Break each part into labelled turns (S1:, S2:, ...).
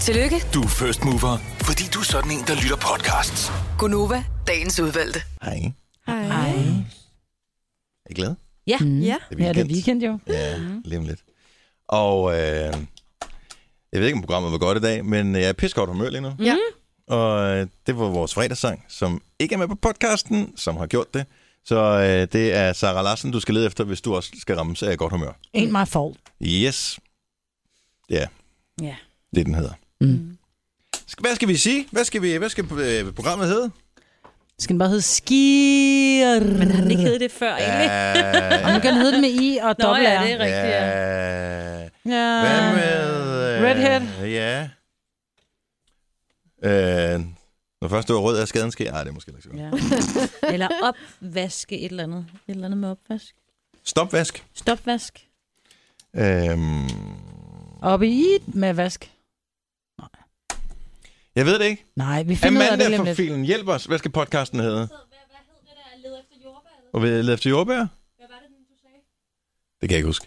S1: Tillykke,
S2: Du er first mover, fordi du er sådan en, der lytter podcasts.
S1: Gunova, dagens udvalgte.
S3: Hej.
S4: Hej.
S3: Er I glad?
S5: Ja, mm.
S4: Ja. Mm.
S3: Det
S5: ja, det er weekend jo.
S3: Ja, lige om lidt. Og øh, jeg ved ikke, om programmet var godt i dag, men jeg er i pissegodt humør lige nu.
S4: Ja.
S3: Og øh, det var vores fredagssang, som ikke er med på podcasten, som har gjort det. Så øh, det er Sara Larsen, du skal lede efter, hvis du også skal rammes af godt humør.
S5: En meget fault.
S3: Yes. Ja,
S5: Ja.
S3: det er, den hedder.
S5: Mm.
S3: Sk- Hvad skal vi sige? Hvad skal, vi, hvad skal øh, programmet hedde?
S5: Skal den bare hedde skier?
S4: Men har den ikke heddet det før, egentlig?
S5: Og nu kan den hedde den med i og
S4: Nå,
S5: dobbelt
S4: ja,
S5: R.
S4: det er rigtigt. Ja.
S3: ja.
S5: Ja.
S3: Hvad med... Øh,
S5: Redhead?
S3: Ja. Øh, når først du er rød, er skaden sker. Ej, det er måske ikke så godt. Ja.
S5: Ja.
S4: Eller opvaske et eller andet. Et eller andet med opvask.
S3: Stopvask.
S4: Stopvask.
S3: Øhm,
S5: Oppe i med vask.
S3: jeg ved det ikke.
S5: Nej, vi finder ud af det
S3: Amanda
S5: lige om
S3: fra
S5: lidt.
S3: filen, hjælp os. Hvad skal podcasten hedde? Hvad hed det der? Led efter jordbær? Eller? Og ved lede efter jordbær? Hvad var det, du sagde? Det kan jeg ikke huske.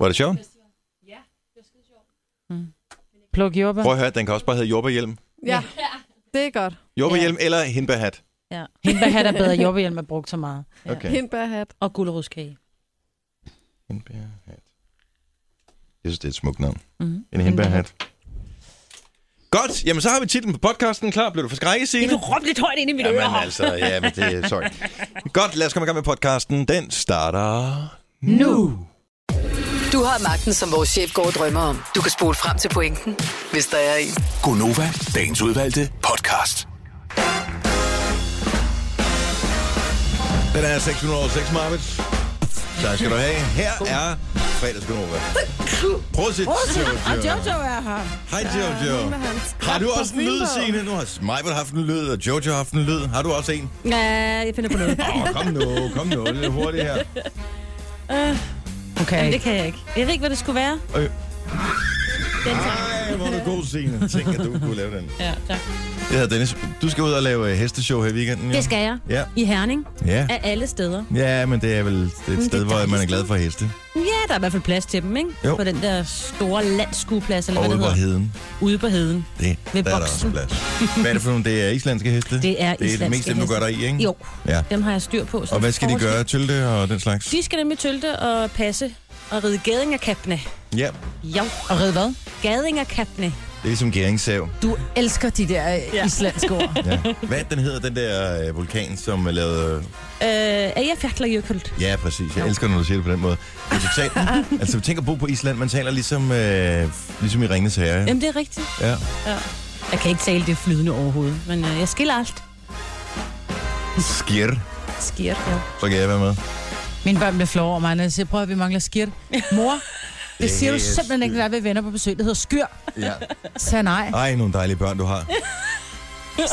S3: Var det sjovt?
S5: Pluk jordbær.
S3: Prøv at høre, den kan også bare hedde jordbærhjelm.
S4: Ja.
S6: Ja, det er godt.
S3: Jordbærhjelm ja. eller hindbærhat.
S4: Ja.
S5: Hende, hvad havde der bedre jordbærhjelm er brugt så meget.
S3: Okay.
S6: Hindbærhat.
S4: Og gulerudskage.
S3: Hindbærhat. Jeg synes, det er et smukt navn.
S4: Mm.
S3: Mhm. En hindbærhat. Godt, jamen så har vi titlen på podcasten klar. Blev du forskrækket, Signe?
S4: Du råbte lidt højt ind i mit øre.
S3: Jamen altså, ja, men det er sorry. Godt, lad os komme i gang med podcasten. Den starter...
S5: Nu!
S1: Du har magten, som vores chef går og drømmer om. Du kan spole frem til pointen, hvis der er en.
S2: Gonova, dagens udvalgte podcast.
S3: Den er 606, Marvitt. Tak skal du have. Her er fredagsgunova. Prosit,
S4: Ah,
S3: Jojo.
S5: Jojo er her.
S3: Hej, Jojo. Har du også en lyd, Signe? Nu har Michael haft en lyd, og Jojo har haft en lyd. Har du også en?
S4: Ja, jeg finder på noget.
S3: Åh, oh, kom nu, kom nu. Lidt hurtigt her.
S5: Okay.
S4: Det kan jeg ikke. Jeg ved ikke, hvad det skulle være.
S3: Ej, hvor er du god, Signe. Tænk, at du kunne lave den.
S4: Ja, tak.
S3: Jeg hedder Dennis. Du skal ud og lave øh, hesteshow her i weekenden. jo.
S4: Det skal jeg.
S3: Ja.
S4: I Herning.
S3: Ja.
S4: Af alle steder.
S3: Ja, men det er vel det er et
S4: det
S3: sted,
S4: er
S3: hvor man er
S4: dejligt.
S3: glad for heste.
S4: Ja, der er i hvert fald plads til dem, ikke?
S3: Jo.
S4: På den der store landskueplads, eller
S3: Og
S4: hvad
S3: ude
S4: det
S3: på
S4: hedder.
S3: heden.
S4: Ude på heden.
S3: Det,
S4: Ved
S3: der er der også
S4: boksen.
S3: plads. Hvad er det for nogle? Det er islandske heste?
S4: Det
S3: Det
S4: er
S3: er det
S4: islandske
S3: mest dem, du gør dig i, ikke?
S4: Jo,
S3: Ja.
S4: dem har jeg styr på. så
S3: Og hvad skal de
S4: forholdsvis-
S3: gøre? Tølte og den slags?
S4: De skal nemlig tølte og passe og ride gædingerkappene.
S3: Ja,
S4: Jo,
S5: Og red hvad?
S4: gædingerkappene.
S3: det er ligesom gæringssav.
S5: Du elsker de der ja. islandske ord.
S3: Ja. Hvad den hedder, den der øh, vulkan, som er lavet... øh,
S4: Øh, er jeg fjertlerjøkult?
S3: Ja, præcis. Jeg elsker, når du siger det på den måde. Det er totalt... altså, tænk at bo på Island. Man taler ligesom, øh, ligesom i Ringens Herre.
S4: Jamen, det er rigtigt.
S3: Ja.
S4: Jeg kan ikke tale det flydende overhovedet, men øh, jeg skiller alt.
S3: Skir.
S4: Skirt, ja.
S3: Så kan jeg være med.
S5: Mine børn bliver flove over mig, når jeg siger, prøv at vi mangler skirt. Mor, det siger du
S3: er
S5: simpelthen ikke, når der er ved venner på besøg. Det hedder skyr.
S3: Ja.
S5: Så sagde jeg nej.
S3: Ej, nogle dejlige børn, du har.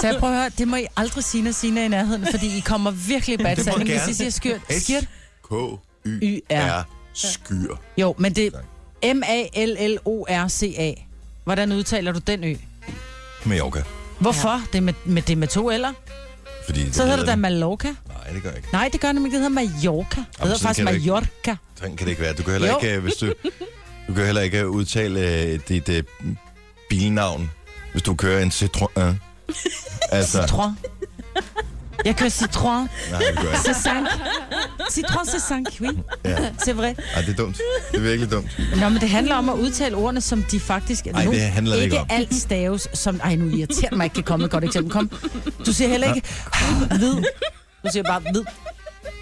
S5: Så jeg prøver at høre, det må I aldrig sige, når Sina er i nærheden, fordi I kommer virkelig bad
S3: Det må
S5: sanding, hvis
S3: gerne.
S5: I siger skyrt. Skirt?
S3: S-K-Y-R.
S5: Y-R.
S3: Skyr.
S5: Jo, men det er M-A-L-L-O-R-C-A. Hvordan udtaler du den ø?
S3: Mallorca.
S5: Hvorfor? Ja. Det er med, med, det er med to eller?
S3: Fordi det
S5: Så hedder det da
S3: det.
S5: Mallorca.
S3: Nej, det gør jeg ikke.
S5: Nej, det gør det ikke. Det hedder Mallorca. Det hedder
S3: sådan
S5: faktisk
S3: kan det ikke.
S5: Mallorca.
S3: Sådan kan det ikke være. Du kan heller
S5: Jo.
S3: ikke, øh, hvis du, du kan heller ikke udtale øh, dit øh, bilnavn, hvis du kører en Citroën. øh. Altså,
S5: Citron. Jeg kører Citron.
S3: nej, det gør jeg ikke.
S5: C'est cinq. Citron, c'est cinq, oui.
S3: Ja.
S5: C'est vrai.
S3: Ej, det er dumt. Det er virkelig dumt.
S5: Nå, men det handler om at udtale ordene, som de faktisk...
S3: Ej, det handler det
S5: ikke
S3: ikke om.
S5: alt staves som... Ej, nu irriterer mig ikke, kan komme med et godt eksempel. Kom, du siger heller ikke hvid. Du siger bare hvid.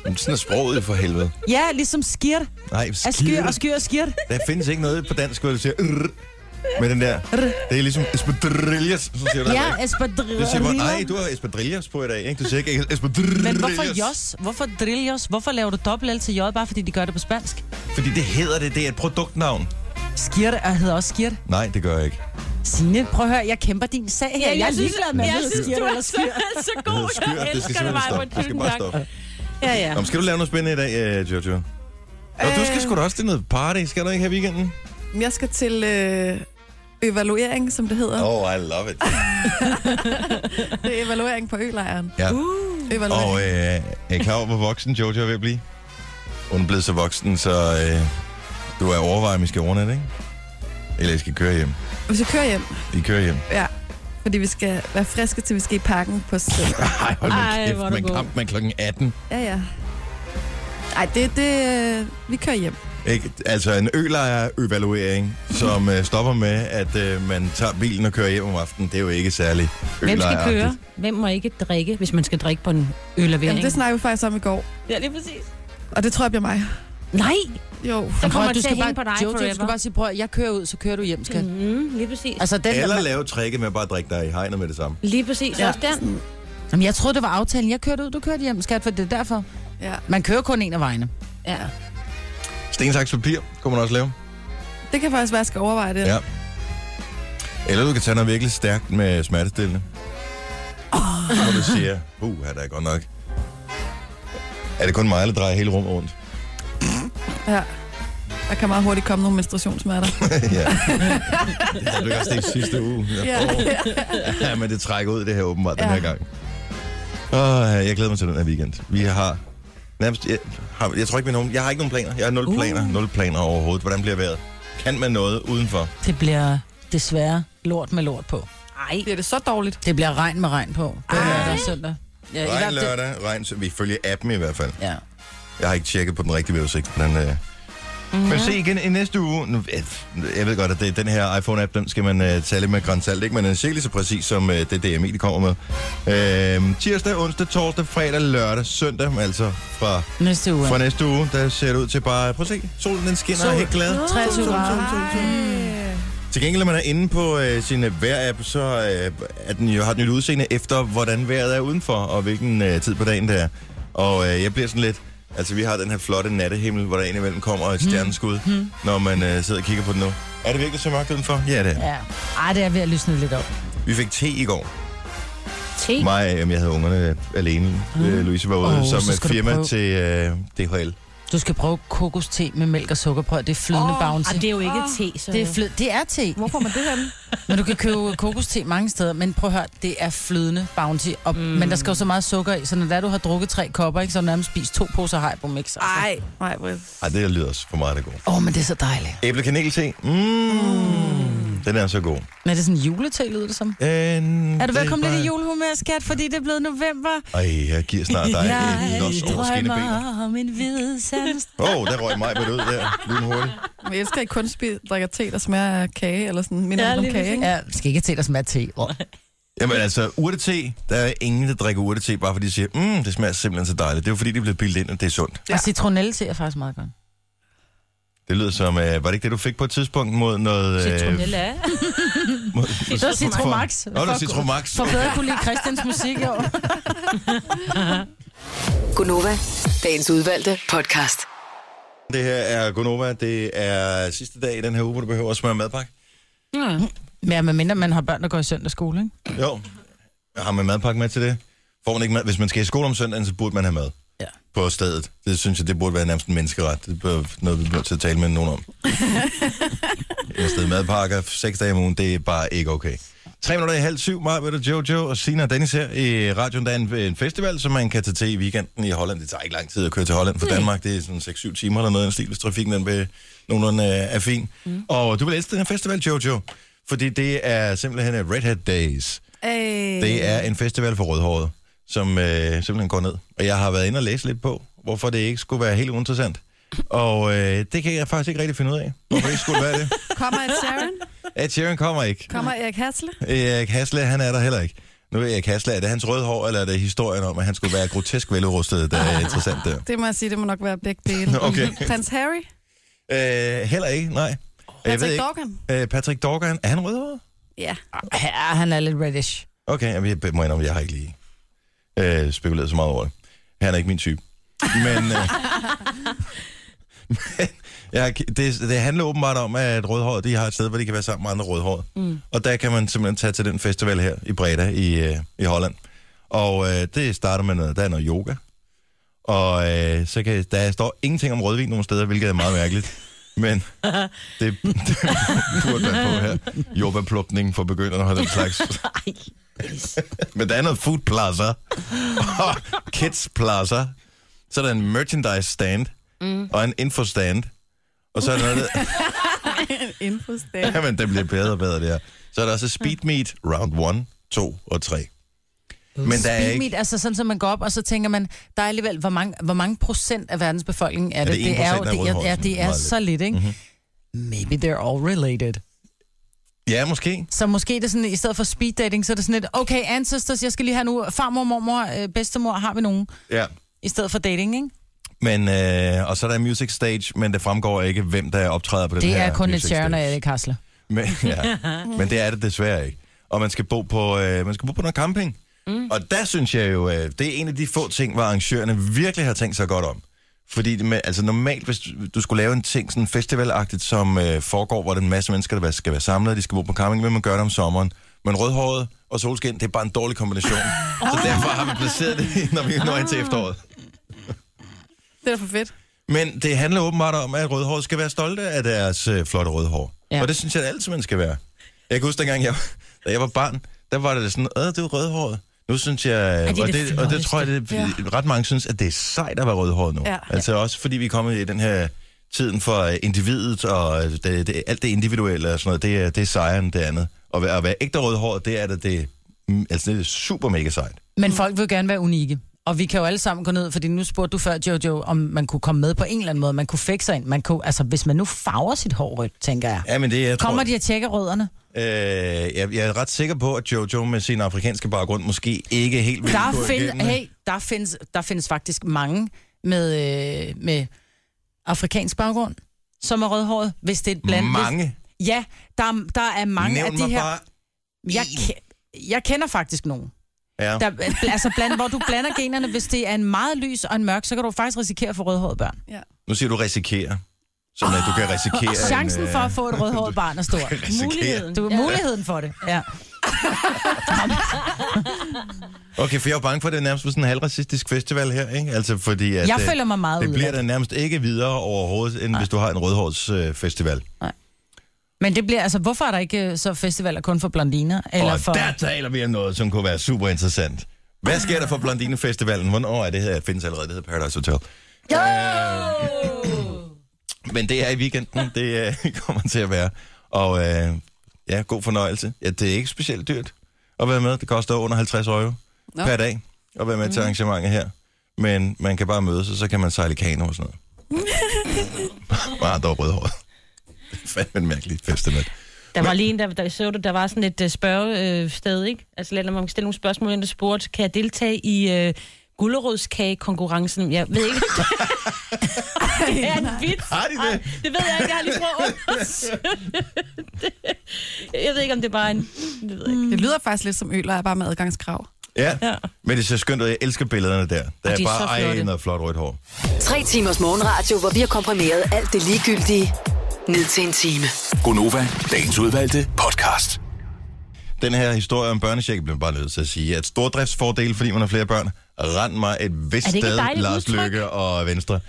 S3: Men sådan er sproget jo for helvede.
S5: Ja, ligesom skirt.
S3: Nej,
S5: Er skyr og
S3: skirt.
S5: skyr og skirt.
S3: Der findes ikke noget på dansk, hvor du siger "Rrr" med den der. Det er ligesom espadrilles, så siger du
S5: Ja,
S3: heller ikke.
S5: espadrilla.
S3: Du siger bare, nej, du har espadrilles på i dag, ikke? Du siger ikke espadrilles.
S5: Men hvorfor jos? Hvorfor drillos? Hvorfor laver du dobbelt L til J, bare fordi de gør det på spansk?
S3: Fordi det hedder det, det er et produktnavn.
S5: Skirt er, hedder også skirt.
S3: Nej, det gør jeg ikke.
S5: Signe, prøv at høre, jeg kæmper din sag her.
S4: Ja, jeg
S5: jeg er
S4: synes-
S5: ligeglad med,
S4: jeg
S5: om det
S4: synes,
S5: hedder
S4: du altså. er
S5: skirt.
S4: så
S3: Det hedder skyr, det skal simpelthen stoppe. Det skal bare stoppe.
S4: Ja, ja.
S3: Nå, men skal du lave noget spændende i dag, øh, Jojo? Nå, du
S4: Øh.
S3: skal sgu da også til noget party, skal du ikke her i weekenden?
S6: Jeg skal til øh, evaluering, som det hedder.
S3: Oh, I love it.
S6: Det er evaluering på ølejren.
S3: Ja.
S4: Uh,
S6: Evaluering.
S3: Og øh, er I klar over, hvor voksen Jojo er ved at blive? Hun er blevet så voksen, så øh, du er overvejet, om I skal overnatte, ikke? Eller I skal køre hjem.
S6: Hvis vi kører hjem,
S3: I kører hjem.
S6: ja. Fordi vi skal være friske, til vi skal i parken på søndag.
S3: Ej, hold nu
S4: Ej,
S3: kæft,
S4: hvor er du
S3: men
S4: god.
S3: kampen er klokken 18.
S6: Ja, ja. Ej, det, det, øh, vi kører hjem.
S3: Ikke? Altså en ølejer-evaluering, som øh, stopper med, at øh, man tager bilen og kører hjem om aftenen, det er jo ikke særlig
S5: Hvem skal
S3: ølejeragtigt.
S5: køre?
S4: Hvem må ikke drikke?
S5: Hvis man skal drikke på en øllervering.
S6: Jamen, det snakker vi faktisk om i går.
S4: Ja, lige præcis.
S6: Og det tror jeg bliver mig.
S4: Nej!
S6: Jo.
S4: Så
S5: Men prøv
S4: kommer
S5: at-
S4: du til at
S5: skal
S4: hænge på
S5: bare,
S4: dig
S5: Jojo, du
S4: forever.
S5: skal bare sige, prøv at- jeg kører ud, så kører du hjem, skat.
S4: Mm, lige præcis. Altså,
S5: Altså, den,
S3: Eller
S5: der,
S3: lave tricket med bare at drikke dig i hegnet med det samme.
S4: lige præcis.
S6: Ja.
S4: Ja. Også den.
S5: jamen, jeg troede, det var aftalen. Jeg kørte ud, du kørte hjem, skat, for det er derfor.
S6: Ja.
S5: Man kører kun en af vejene.
S4: Ja.
S3: Sten, saks, papir kunne man også lave.
S6: Det kan faktisk være, at jeg skal overveje det.
S3: Ja. Eller du kan tage noget virkelig stærkt med smertestillende. Oh. Hvor du siger, uh, er der godt nok. Er det kun mig, der drejer hele rummet rundt?
S6: ja. Der kan meget hurtigt komme nogle menstruationssmerter.
S3: ja. Det havde du ikke også det i sidste uge.
S6: ja.
S3: Ja, men det trækker ud det her åbenbart ja. den
S6: Ja.
S3: her gang. Og jeg glæder mig til den her weekend. Vi har nærmest... Jeg, har, jeg tror ikke, vi har nogen... Jeg har ikke nogen planer. Jeg har
S4: Uh.
S3: nul planer. Nul planer overhovedet. Hvordan bliver vejret? Kan man noget udenfor?
S5: Det bliver desværre lort med lort på.
S4: Ej.
S6: Bliver det så dårligt?
S5: Det bliver regn med regn på. Det er lørdag og søndag. Ja, i
S3: Regn
S5: hvert fald-
S3: lørdag, regn... sø- Vi følger appen i hvert fald.
S5: Ja.
S3: Jeg har ikke tjekket på den rigtige vejrudsigt, men... Øh, men se igen i næste uge. Nu, øh, jeg ved godt, at det, den her iPhone-app, den skal man øh, tage lidt med grænsalt, ikke? Men den er cirka lige så præcis, som øh, det DMI, de kommer med. Øh, tirsdag, onsdag, torsdag, fredag, lørdag, søndag, altså fra
S5: Næste uge.
S3: Fra næste uge, der ser det ud til bare... Prøv at se, solen den skinner Sol. helt glad.
S5: 23 grader.
S3: Til gengæld, når man er inde på øh, sin øh, vejr-app, så øh, er den jo, har den jo et udseende efter, hvordan vejret er udenfor, og hvilken øh, tid på dagen det er. Og øh, jeg bliver sådan lidt... Altså, vi har den her flotte nattehimmel, hvor der indimellem kommer et
S5: Mhm.
S3: stjerneskud, mm. når man øh, sidder og kigger på den nu. Er det virkelig så mørkt udenfor? Ja, det er. Ja.
S5: Ja. Ej, det er ved at lysne lidt op.
S3: Vi fik te i går.
S4: Te.
S3: Mig, øh, jeg havde ungerne øh, alene. Øh, Louise var ude
S5: Mhm. Åh,
S3: oh, som
S5: så skal
S3: et
S5: du
S3: firma
S5: prøve.
S3: til øh, DHL.
S5: Du skal prøve kokoste med mælk og sukkerbrød. Det er flydende oh, bouncy.
S4: Ej, ah, det er jo ikke te, så...
S5: det, er flyd... det er te.
S6: Hvor får man det henne?
S5: Men du kan købe kokoste mange steder, men prøv at høre, det er flydende bounty. Og, mm. Men der skal jo så meget sukker i, så når det er, du har drukket tre kopper, ikke, så har du nærmest spist to poser hajbo mix. altså.
S6: Ej, nej, Britt.
S3: Ej, det lyder også for meget, der går.
S5: Åh, oh, men det er så dejligt.
S3: Æblekanel-te. Mm. Mm. Den er så god.
S5: Men er det sådan en julete, lyder det som?
S3: En,
S5: Er du velkommen lidt i julehumør, skat, fordi det er blevet november?
S3: Ej, jeg giver snart dig en los over skinnebenet.
S5: drømmer om en hvid sandst.
S3: Åh, oh, der røg mig på det ud der, lige hurtigt.
S6: Men jeg elsker, at I kun spiser, drikker te, der smager af kage, eller sådan mindre
S4: Ja,
S6: ja, om
S4: lige
S6: kage, ikke?
S5: Ja, skal ikke have til at smage te. Åh.
S3: Jamen altså, urtete, der er ingen, der drikker urtete, bare fordi de siger, mm, det smager simpelthen så dejligt. Det er jo fordi, det bliver bildet ind, at det er sundt.
S5: Og citronelle te er faktisk meget godt.
S3: Det lyder som, uh, var det ikke det, du fik på et tidspunkt mod noget...
S4: Citronella. Øh,
S3: mod,
S5: Det var Citromax.
S3: Nå, det var Citromax.
S5: For bedre kunne lide Christians musik i år.
S1: Gunova, dagens udvalgte podcast.
S3: Det her er Gonova, det er sidste dag i den her uge, hvor du behøver at smøre madpakke.
S5: Men ja, medmindre man har børn, der går i søndagsskole, ikke?
S3: Jo, har man madpakke med til det? Får man ikke mad? Hvis man skal i skole om søndagen, så burde man have mad.
S5: Ja.
S3: på stedet. Det synes jeg, det burde være nærmest en menneskeret. Det er noget, vi bliver til at tale med nogen om. Et sted madpakker seks dage om ugen, det er bare ikke okay. Tre minutter i halv syv, mig, ved Jojo og Sina og Dennis her i radioen. Der er en, en festival, som man kan tage til i weekenden i Holland. Det tager ikke lang tid at køre til Holland fra Danmark. Det er sådan 6-7 timer eller noget i den stil, hvis trafikken den vil, nogenlunde øh, er fin. Mm. Og du vil elske den her festival, Jojo, fordi det er simpelthen øh, Red Hat Days.
S1: Øh.
S6: Ej.
S3: Det er en festival for rødhåret, som øh, simpelthen går ned. Og jeg har været inde og læse lidt på, hvorfor det ikke skulle være helt uinteressant. Og øh, det kan jeg faktisk ikke rigtig finde ud af, hvorfor det ikke skulle være det.
S6: Kommer Ed Sheeran?
S3: Ed Sheeran kommer ikke.
S6: Kommer Erik Hassle?
S3: Erik Hasle, han er der heller ikke. Nu er Erik Hasle, er det hans røde hår, eller er det historien om, at han skulle være grotesk veludrustet, der er interessant der?
S6: Det må jeg sige, det må nok være begge dele.
S3: Okay.
S6: Prins Harry?
S3: Øh, heller ikke, nej. Jeg ved
S6: Patrick
S3: ikke.
S6: Dorgan?
S3: Øh, Patrick Dorgan, er han rødhåret?
S6: Ja.
S5: Ja, han er lidt reddish.
S3: Okay, jeg må indrømme, jeg har ikke lige øh, spekuleret så meget over det. Han er ikke min type. Men, øh, men jeg, det, det handler åbenbart om, at rødhåret de har et sted, hvor de kan være sammen med andre rødhåret. Mm. Og der kan man simpelthen tage til den festival her i Breda i, øh, i Holland. Og øh, det starter med noget, der er noget yoga. Og øh, så kan, der står ingenting om rødvin nogen steder, hvilket er meget mærkeligt. Men det, det burde være på her. Jordbærplukning for begynderne og den slags. Men der er noget food plaza. Og kids plaza. Så er der en merchandise stand. Mm. Og en info stand. Og så er der noget...
S6: Indfødsdag.
S3: Jamen, det bliver bedre og bedre, det her. Så er der også Speed Meet round 1, 2 og 3. Men der er
S5: Speed
S3: ikke...
S5: meet, altså sådan, så man går op, og så tænker man, der er alligevel, hvor mange, hvor mange procent af verdens befolkning er det?
S3: det 1%
S5: er
S3: af
S5: det, er,
S3: rødhåret,
S5: ja,
S3: sådan
S5: det er
S3: meget Mhm.
S5: så lidt, ikke? Mm-hmm. Maybe they're all related.
S3: Ja, måske.
S5: Så måske er det sådan, i stedet for speed dating, så er det sådan lidt, okay, ancestors, jeg skal lige have nu, farmor, mormor, øh, bedstemor, har vi nogen?
S3: Ja.
S5: I stedet for dating, ikke?
S3: Men, øh, og så er der Music Stage, men det fremgår ikke, hvem der optræder på den
S5: Det
S3: her
S5: er kun et
S3: Music
S5: Sharon og
S3: Stage.
S5: Erik Hasler.
S3: Men, ja. men det er det desværre ikke. Og man skal bo på, øh, man skal bo på noget camping. Mm. Og der synes jeg jo, øh, det er en af de få ting, hvor arrangørerne virkelig har tænkt sig godt om. Fordi det med, altså normalt, hvis du- du skulle lave en ting, sådan festivalagtigt, som øh, foregår, hvor der er en masse mennesker, der skal være- skal være samlet, de skal bo på camping, men man gør det om sommeren. Men rødhåret og solskin, det er bare en dårlig kombination. Så derfor har vi placeret det, når vi når ind til efteråret.
S6: Det er da for fedt.
S3: Men det handler åbenbart om, at rødhår skal være stolte af deres øh, flotte rødhår. Ja.
S5: Ja.
S3: Og det synes jeg at altid, man skal være. Jeg kan huske, dengang jeg, da jeg var barn, der var det sådan, at det er rødhåret. Nu synes jeg,
S4: Er de
S3: og,
S4: det
S3: det, og det
S4: flotteste?
S3: tror jeg, det, ja. ret mange synes, at det er sejt at være rødhåret nu.
S6: Ja.
S3: Altså også fordi vi er kommet i den her tiden for øh, individet, og øh, det, det, alt det individuelle og sådan noget, det, er- det er sejere end det andet. Og at være- at være ægte rødhåret, det er det, det, mm, altså, det er super mega sejt.
S5: Men folk vil jo gerne være unikke. Og vi kan jo alle sammen gå ned, fordi nu spurgte du før, Jojo, om man kunne komme med på en eller anden måde. Man kunne fikse ind. Man kunne, altså, hvis man nu farver sit hår rødt, tænker jeg.
S3: Ja, men det, jeg tror,
S5: Kommer de og tjekker rødderne?
S3: Øh, jeg, jeg er ret sikker på, at Jojo med sin afrikanske baggrund måske ikke helt vil
S5: Der,
S3: gå
S5: find,
S3: igennem.
S5: hey, der, findes, der findes faktisk mange med, øh, med afrikansk baggrund, som er rødhåret, hvis det er et blandt.
S3: Mange.
S5: Hvis, ja, der, er- der er mange
S3: Nævn
S5: af de
S3: mig
S5: her...
S3: bare.
S5: Jeg, ke- jeg kender faktisk nogen.
S3: Ja.
S5: Der, altså bland, hvor du blander generne, hvis det er en meget lys og en mørk, så kan du faktisk risikere at få rødhåret børn.
S3: Nu siger du risikere. Sådan at du kan risikere...
S5: Ah, Chancen
S3: en, øh,
S5: for at få et rødhåret barn er stor.
S3: risikere.
S4: Muligheden.
S5: Du
S4: Ja.
S5: har muligheden for det. Ja.
S3: øh, Okay, for jeg er jo bange for, at det er nærmest sådan en halvracistisk festival her, ikke? Altså fordi at...
S5: Jeg
S3: øh,
S5: føler mig meget
S3: Det bliver
S5: udeladt.
S3: der nærmest ikke videre overhovedet, end hvis du har en rødhårs øh, festival.
S5: Men det bliver, altså, hvorfor er der ikke øh, så festivaler kun for blondiner? Eller
S3: Og
S5: for...
S3: der taler vi om noget, som kunne være super interessant. Hvad sker der for Blondinefestivalen? Hvornår er det her? Det findes allerede, det hedder Paradise Hotel. Øh, men det er i weekenden, det øh, kommer til at være. Og øh, ja, god fornøjelse. Ja, det er ikke specielt dyrt at være med. Det koster under 50 euro Nå.
S6: Nå.
S3: per dag at være med til arrangementet her. Men man kan bare mødes, og så kan man sejle i kano og sådan noget. Bare dog rødhåret. Det er fandme en mærkelig festival.
S4: Der var lige en, der, der så du, der var sådan et uh, spørgested, ikke? Altså, lad mig stille nogle spørgsmål, inden du spurgte, kan jeg deltage i uh, gulerodskage-konkurrencen? Jeg ved ikke, om det er en vits.
S3: Har de det?
S4: Ej, det ved jeg ikke, jeg har lige prøvet at undersøge det. Jeg ved ikke, om det er bare en... Det ved jeg ikke.
S6: Det lyder faktisk lidt som øl, og er bare med adgangskrav.
S3: Ja. ja,
S4: Ja.
S3: men det ser skønt ud. Jeg elsker billederne der. Der er,
S5: de er
S3: bare
S5: så
S3: ej,
S5: flotte.
S3: noget flot rødt hår.
S1: Tre timers morgenradio, hvor vi har komprimeret alt det ligegyldige ned til en time.
S2: Gonova, dagens udvalgte podcast.
S3: Den her historie om børnecheck bliver bare nødt til at sige, at stordriftsfordel, fordi man har flere børn, rend mig et vist
S4: Er det ikke et
S3: sted,
S4: dejligt
S3: Lars
S4: udtryk?
S3: Løkke og Venstre.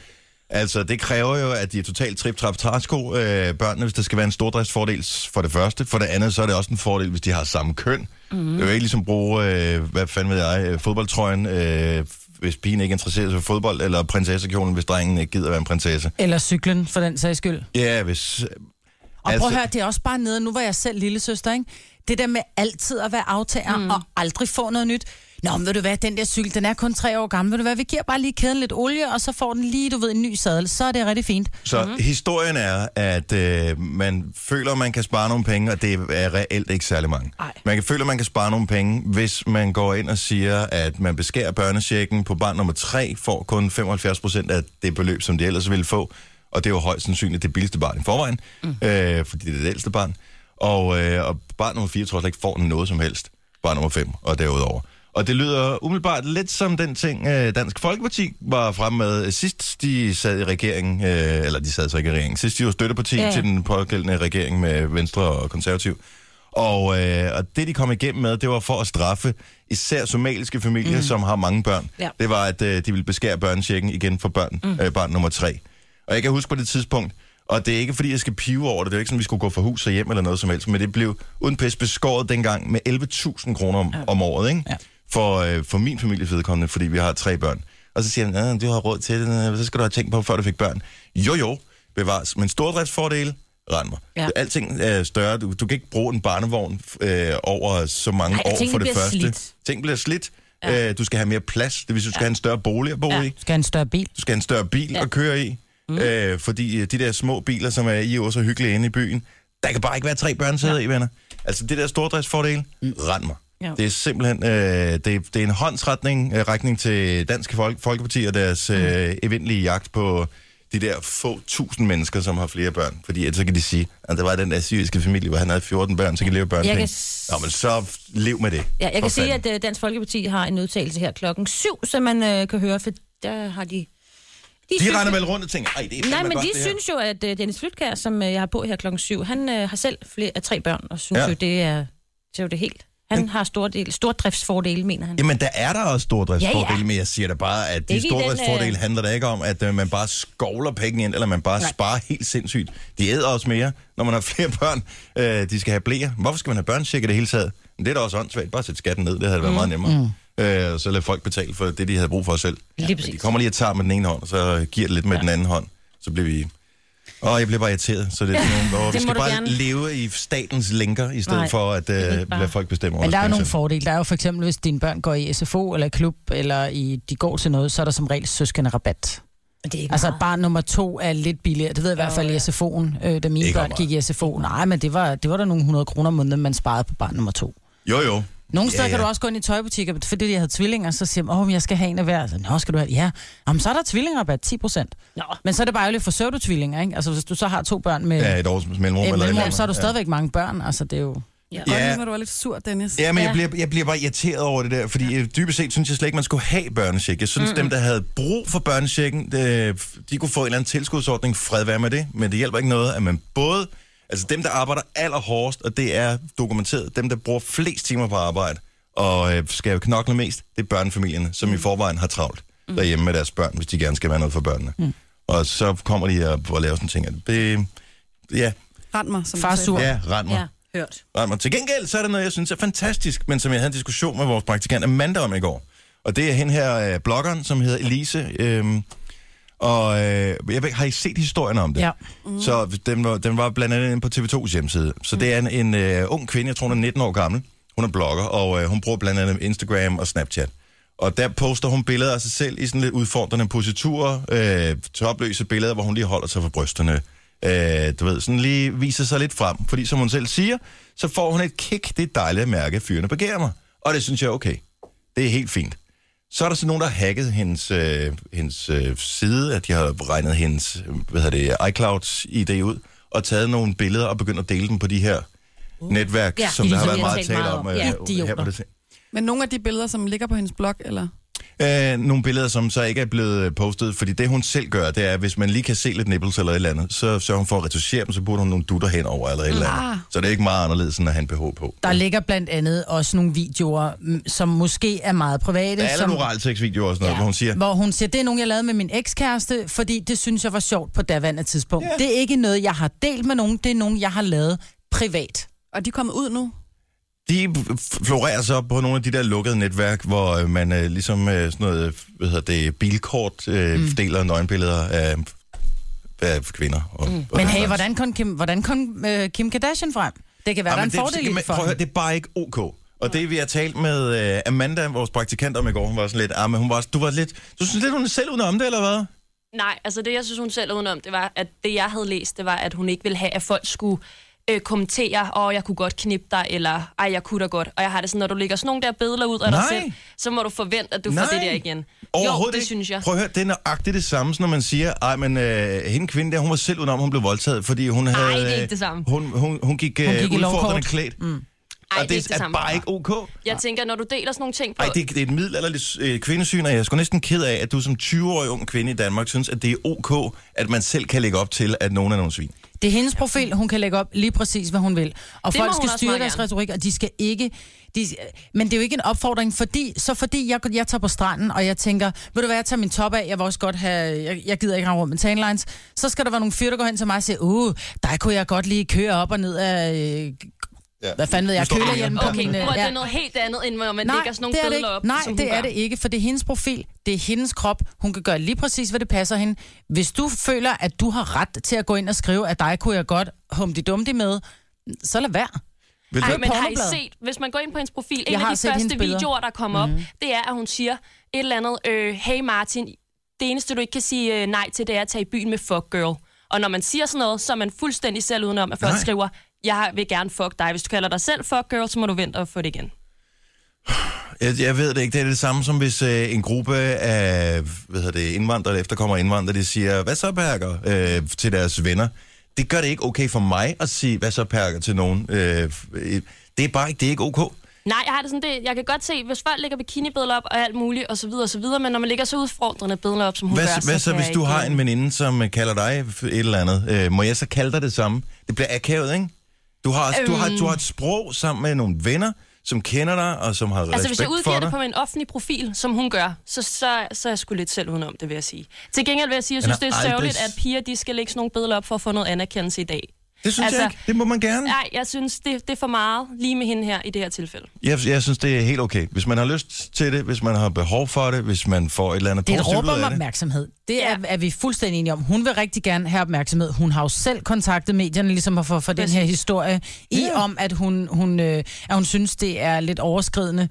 S3: Altså, det kræver jo, at de er totalt trip trap træsko øh, børnene, hvis der skal være en stordriftsfordel s- for det første. For det andet, så er det også en fordel, hvis de har samme køn. Mm.
S4: Mhm.
S3: Det er jo ikke ligesom at bruge, øh, hvad fanden ved jeg, øh, fodboldtrøjen, øh, hvis pigen ikke interesserer sig for fodbold, eller prinsessekjolen, hvis drengen ikke gider være en prinsesse.
S5: Eller cyklen, for den sags skyld.
S3: Ja, hvis...
S5: Og altså... prøv at høre, det er også bare nede, nu var jeg selv lille søster, ikke? Det der med altid at være aftager mm. og aldrig få noget nyt. Nå, men ved du hvad, den der cykel, den er kun tre år gammel. Ved du hvad, vi giver bare lige kæden lidt olie, og så får den lige, du ved, en ny sadel. Så er det rigtig fint.
S3: Så mm-hmm. historien er, at øh, man føler, man kan spare nogle penge, og det er reelt ikke særlig mange. Ej. Man kan føle, at man kan spare nogle penge, hvis man går ind og siger, at man beskærer børnechecken på barn nummer 3, får kun 75% af det beløb, som de ellers ville få. Og det er jo højst sandsynligt det billigste barn i forvejen, mm. øh, fordi det er det ældste barn. Og, øh, og barn nummer 4 tror jeg slet ikke får noget som helst. Barn nummer 5 og derudover. Og det lyder umiddelbart lidt som den ting, øh, Dansk Folkeparti var frem med øh, sidst de sad i regeringen, øh, eller de sad så ikke i regeringen, sidst de var støtteparti ja.
S4: ja.
S3: til den pågældende regering med Venstre og Konservativ. Og, øh, og det, de kom igennem med, det var for at straffe især somaliske familier, mm. som har mange børn.
S4: Ja.
S3: Det var, at øh, de ville beskære børnechecken igen for børn, mm. øh, barn nummer tre. Og jeg kan huske på det tidspunkt, og det er ikke, fordi jeg skal pive over det, det er jo ikke sådan, vi skulle gå fra hus og hjem eller noget som helst, men det blev uden pis beskåret dengang med 11.000 kroner om, ja. om året, ikke? Ja. For, øh, for min families vedkommende, fordi vi har tre børn. Og så siger han, "Ah, du har råd til det, øh, så skal du have tænkt på, før du fik børn. Jo, jo, bevares. Men stordriftsfordele, Rend mig. Ja.
S4: Ja.
S3: Alting er større. Du, du kan ikke bruge en barnevogn øh, over så mange
S4: Ej,
S3: år
S4: ting
S3: for det
S4: bliver
S3: første.
S4: slidt.
S3: Ting bliver slidt. Ja. Øh, du skal have mere plads. Det vil sige, du skal ja. have en større bolig at bo ja. i.
S5: Skal have en større bil?
S3: Du skal have en større bil ja. at køre i. Mm. Øh, fordi øh, de der små biler, som er i er så hyggelige inde i byen, der kan bare ikke være tre børnesæder ja. i, venner. Altså det der stordriftsfordel, mm. rend mig. Ja.
S4: Ja.
S3: Det er simpelthen øh, det, er- det er en håndsretning øh, retning til Dansk Folk, Folkeparti og
S4: Mm.
S3: deres øh, eventlige jagt på de der få tusind mennesker, som har flere børn. Fordi ellers så kan de sige, at der var den der syriske familie, hvor han havde 14 børn, så kan de leve børn.
S4: Jeg kan s-
S3: Nå, men så lev med det.
S4: Ja, jeg
S3: For
S4: kan sige,
S3: fanden.
S4: at øh, Dansk Folkeparti har en udtalelse her klokken syv, som man øh, kan høre, for der har de... De, synes-
S3: De render vel rundt og tænker, ej, det er
S4: Nej,
S3: fandme
S4: men
S3: godt,
S4: de
S3: det her."
S4: synes jo, at øh, Dennis Flytkær, som øh, jeg har på her klokken syv, han øh, har selv flere af tre børn, og synes
S3: Ja.
S4: ja. jo, det er, det er jo det helt. Han har stor del, stordriftsfordele, mener han.
S3: Jamen, der er der også stordriftsfordele, ja,
S4: Ja,
S3: ja.
S4: ja.
S3: men jeg siger da bare, at de
S4: Ikke i den,
S3: stordriftsfordele
S4: øh,
S3: handler da ikke om, at øh, man bare skovler penge ind, eller man bare Nej. sparer helt sindssygt. De æder også mere, når man har flere børn. Øh, de skal have blære. Hvorfor skal man have børnecheck i det hele taget? Men det er da også åndssvagt. Bare sæt skatten ned, det havde været meget nemmere. Mm. Øh, og så lade folk betale for det, de havde brug for selv.
S4: Lige
S3: Men de
S4: præcis.
S3: kommer lige og tager med den ene hånd, og så giver det lidt med ja. den anden hånd. Så bliver vi... Åh, jeg bliver bare irriteret, så det er sådan nogle, hvor vi
S4: det må
S3: skal
S4: du
S3: bare
S4: gerne.
S3: leve i statens lænker, i stedet Nej,
S4: Nej,
S3: for at øh,
S4: det er ikke bare-
S3: lade folk bestemme over
S5: Men der er jo
S3: deres
S5: nogle
S3: penge selv.
S5: fordele. Der er jo for eksempel, hvis dine børn går i SFO eller i klub, eller i, de går til noget, så er der som regel søskende rabat.
S4: Det er ikke
S5: Altså
S4: meget.
S5: barn nummer to er lidt billigere. Det ved jeg i hvert fald i SFO'en, øh, da mine
S3: Ikke
S5: ikke
S3: ret
S5: børn gik i SFO. Nej, men det var, det var der nogle 100 kroner om måneden, man sparede på barn nummer to.
S3: Jo, jo.
S5: Nogle steder
S3: Ja,
S5: ja,
S3: ja.
S5: ja. kan du også gå ind i tøjbutikker, fordi jeg havde tvillinger, så siger man, åh, men jeg skal have en af hver. Så, Nå, skal du have Ja, Jamen, så er der tvillingerabat, 10 procent.
S4: Nå.
S5: Men så er det bare ærgerligt for søvdetvillinger, ikke? Altså, hvis du så har to børn med...
S3: Ja,
S5: Ja.
S3: et års mellemrum.
S5: Et
S3: eller et
S5: mellemrum,
S3: eller
S5: så er du
S3: andet.
S5: stadigvæk mange børn. Altså, det er jo...
S3: Ja.
S6: Ja. Og du var lidt sur, Dennis.
S3: Ja, ja men jeg
S4: Ja.
S3: bliver, jeg bliver bare irriteret over det der, fordi ja. dybest set synes jeg slet ikke, man skulle have børnecheck. Jeg synes, mm. dem, der havde brug for børnechecken, det, de kunne få en eller anden tilskudsordning. Fred være med det, men det hjælper ikke noget, at man både... Altså dem, der arbejder allerhårdest, og det er dokumenteret, dem, der bruger flest timer på arbejde og øh, skal jo knokle mest, det er børnefamilierne, som
S5: Mm.
S3: i forvejen har travlt derhjemme med deres børn, hvis de gerne skal være noget for børnerne. Mm. Og så kommer de og, og laver sådan ting. at Det, ja,
S6: Rend mig, som
S5: Far
S6: du sagde.
S5: sur.
S3: ja, rend mig. Ja.
S4: Ja, hørt.
S3: Nej, men til gengæld, så er der noget, jeg synes er fantastisk, men som jeg havde en diskussion med vores praktikant Amanda om i går. Og det er hende her, øh, bloggeren, som hedder Elise. Øhm, og øh, jeg ved, ikke, har I set historien om det?
S5: Ja.
S3: Mm. Så den var, den var blandt andet inde på TV2's hjemmeside. Så det er en, en øh, ung kvinde, jeg tror hun er 19 år gammel. Hun er blogger, og øh, hun bruger blandt andet Instagram og Snapchat. Og der poster hun billeder af sig selv i sådan lidt udfordrende positurer, øh, topløse billeder, hvor hun lige holder sig for brysterne. Øh, du ved, sådan lige viser sig lidt frem. Fordi som hun selv siger, så får hun et kick. Det er dejligt at mærke, at fyrene begærer mig. Og det synes jeg er okay. Det er helt fint. Så er der sådan nogen, der har hacket hendes, øh, hendes øh, side, at de har regnet hendes øh, hvad hedder det, iCloud-ID ud, og taget nogle billeder og begyndt at dele dem på de her uh. netværk, ja,
S4: Ja,
S3: som
S4: de
S3: der har
S4: som
S3: været
S4: vi har
S3: meget
S4: talt
S3: tale
S4: meget
S3: om.
S4: om.
S3: øh,
S4: Ja.
S3: her på
S5: Idioter.
S3: det
S6: Men nogle af de billeder, som ligger på hendes blog, eller?
S3: Øh, nogle billeder, som så ikke er blevet øh, postet, fordi det hun selv gør, det er, hvis man lige kan se lidt nipples eller et eller andet, så sørger hun for at retuschere dem, så putter hun nogle dutter henover eller et eller andet. Så det er ikke meget anderledes, end at have en BH på.
S5: Der ligger blandt andet også nogle videoer, m, som måske er meget private.
S3: Der er
S5: som,
S3: nogle oralsex-videoer og sådan noget, ja. hvor hun siger,
S5: hvor hun siger, det er nogen, jeg lavede med min ekskæreste, fordi det synes jeg var sjovt på daværende tidspunkt. Yeah. Det er ikke noget, jeg har delt med nogen, det er nogen, jeg har lavet privat.
S6: Og de er kommet ud nu?
S3: de f- florerer så på nogle af de der lukkede netværk, hvor øh, man øh, ligesom øh, sådan noget, øh, hvad hedder det, bilkort øh, mm. deler nøgenbilleder af, af kvinder. Og, mm. og
S5: Men hey, hvordan kom Kim, hvordan kom, øh, Kim Kardashian frem? Det kan være, der er en
S3: det,
S5: fordel i det for
S3: prøv at høre,
S5: hende.
S3: det er bare ikke ok. Og det, vi har talt med øh, Amanda, vores praktikant om i går, hun var sådan lidt, ah, men hun var, du var lidt, du synes lidt, hun er selv uden om det, eller hvad?
S7: Nej, altså det, jeg synes, hun selv er udenom, det var, at det, jeg havde læst, det var, at hun ikke ville have, at folk skulle øh, kommentere, og jeg kunne godt knippe dig, eller ej, jeg kunne da godt. Og jeg har det sådan, når du lægger sådan nogle der billeder ud af dig
S3: Nej.
S7: selv, så må du forvente, at du
S3: Nej.
S7: får det der igen.
S3: Overhovedet
S7: jo, det
S3: ikke.
S7: synes jeg.
S3: Prøv at høre, det er nøjagtigt det samme, som når man siger, ej, men øh, hende kvinde der, hun var selv udenom, hun blev voldtaget, fordi hun havde...
S7: det er ikke
S3: øh,
S7: det samme.
S3: Hun, hun, hun gik, øh, hun
S5: gik i
S3: gik udfordrende
S5: lovkort.
S3: klædt. Mm.
S7: Ej,
S3: og det,
S7: det er ikke det
S3: er,
S7: samme.
S3: bare ikke ok.
S7: Jeg tænker, når du deler sådan nogle ting på...
S3: Ej, det, det er et middelalderligt øh, kvindesyn, og jeg er sgu næsten ked af, at du som 20-årig ung kvinde i Danmark synes, at det er ok, at man selv kan lægge op til, at nogen er nogen svin.
S5: Det er hendes profil, hun kan lægge op lige præcis, hvad hun vil. Og
S7: Det
S5: folk
S7: må hun
S5: skal
S7: også
S5: styre
S7: meget
S5: deres
S7: gerne.
S5: retorik, og de skal ikke... De, men det er jo ikke en opfordring, fordi, så fordi jeg, jeg tager på stranden, og jeg tænker, ved du hvad, jeg tager min top af, jeg vil også godt have, jeg, jeg gider ikke rende rundt med tanlines, så skal der være nogle fyre, der går hen til mig og siger, uh, der kunne jeg godt lige køre op og ned af øh,
S3: Ja.
S5: Hvad fanden ved jeg?
S3: Du står
S5: Kølerhjelm
S3: alene.
S5: på
S7: Okay,
S5: min... øh,
S7: prøv, det
S5: ja.
S7: er noget helt andet, end hvor man lægger sådan nogle
S5: det er det
S7: billeder
S5: ikke.
S7: op,
S5: Nej,
S7: som hun
S5: det er
S7: gør.
S5: det ikke, for det er hendes profil, det er hendes krop, hun kan gøre lige præcis, hvad det passer hende. Hvis du føler, at du har ret til at gå ind og skrive, at dig kunne jeg godt humdi dumdi med, så lad være.
S3: Vil
S7: Ej,
S3: du,
S7: men har I
S5: pornoblad.
S7: set, hvis man går ind på hendes profil, en
S5: Jeg har
S7: af de
S5: set hendes
S7: første
S5: billeder.
S7: videoer, der kommer
S3: Mhm.
S7: mm. op, det er, at hun siger et eller andet, øh, hey Martin, det eneste, du ikke kan sige øh, nej til, det er at tage i byen med fuck girl. Og når man siger sådan noget, så er man fuldstændig selv udenom, at folk
S3: Nej.
S7: nej. skriver, jeg vil gerne fuck dig. Hvis du kalder dig selv fuck girl, så må du vente og få det igen.
S3: jeg, jeg ved det ikke. Det er det samme som hvis øh, en gruppe af hvad hedder det, indvandrere eller efterkommere indvandrere, de siger, hvad så perker øh, til deres venner. Det gør det ikke okay for mig at sige, hvad så perker til nogen. Øh, øh, det er bare ikke, det er ikke okay.
S7: Nej, jeg har det sådan, det, jeg kan godt se, hvis folk lægger bikinibilleder op og alt muligt og så videre og så videre, men når man lægger så udfordrende billeder op, som hun
S3: Hvad,
S7: gør,
S3: så, hvad så,
S7: kan
S3: hvis
S7: jeg
S3: du
S7: ikke-
S3: har en veninde, som øh, kalder dig f- et eller andet? Øh, må jeg så kalde dig det samme? Det bliver akavet, ikke? Du har, øhm. du, har, du har et sprog sammen med nogle venner, som kender dig, og som har altså,
S7: Altså,
S3: respekt
S7: hvis jeg
S3: for
S7: udgiver
S3: dig.
S7: det på min offentlige profil, som hun gør, så, så, så er jeg sgu lidt selv udenom det, vil jeg sige. Til gengæld vil jeg sige, at jeg
S3: Men
S7: synes, det er
S3: aldrig-
S7: sørgeligt, at piger de skal lægge sådan nogle billeder op for at få noget anerkendelse i dag.
S3: Det synes altså,
S7: altså-
S3: jeg ikke. Det må man gerne.
S7: Nej, jeg synes, det, det er for meget lige med hende her i det her tilfælde.
S3: Jeg, jeg synes, det er helt okay. Hvis man har lyst til det, hvis man har behov for det, hvis man får et eller andet
S5: Det er et
S3: positivt
S5: råb om
S3: ud af det.
S5: opmærksomhed. Det er,
S7: Ja.
S5: er vi fuldstændig enige om. Hun vil rigtig gerne have opmærksomhed. Hun har jo selv kontaktet medierne ligesom for, for den her historie i
S3: Ja.
S5: om, at hun, hun, øh, at hun synes, det er lidt overskridende.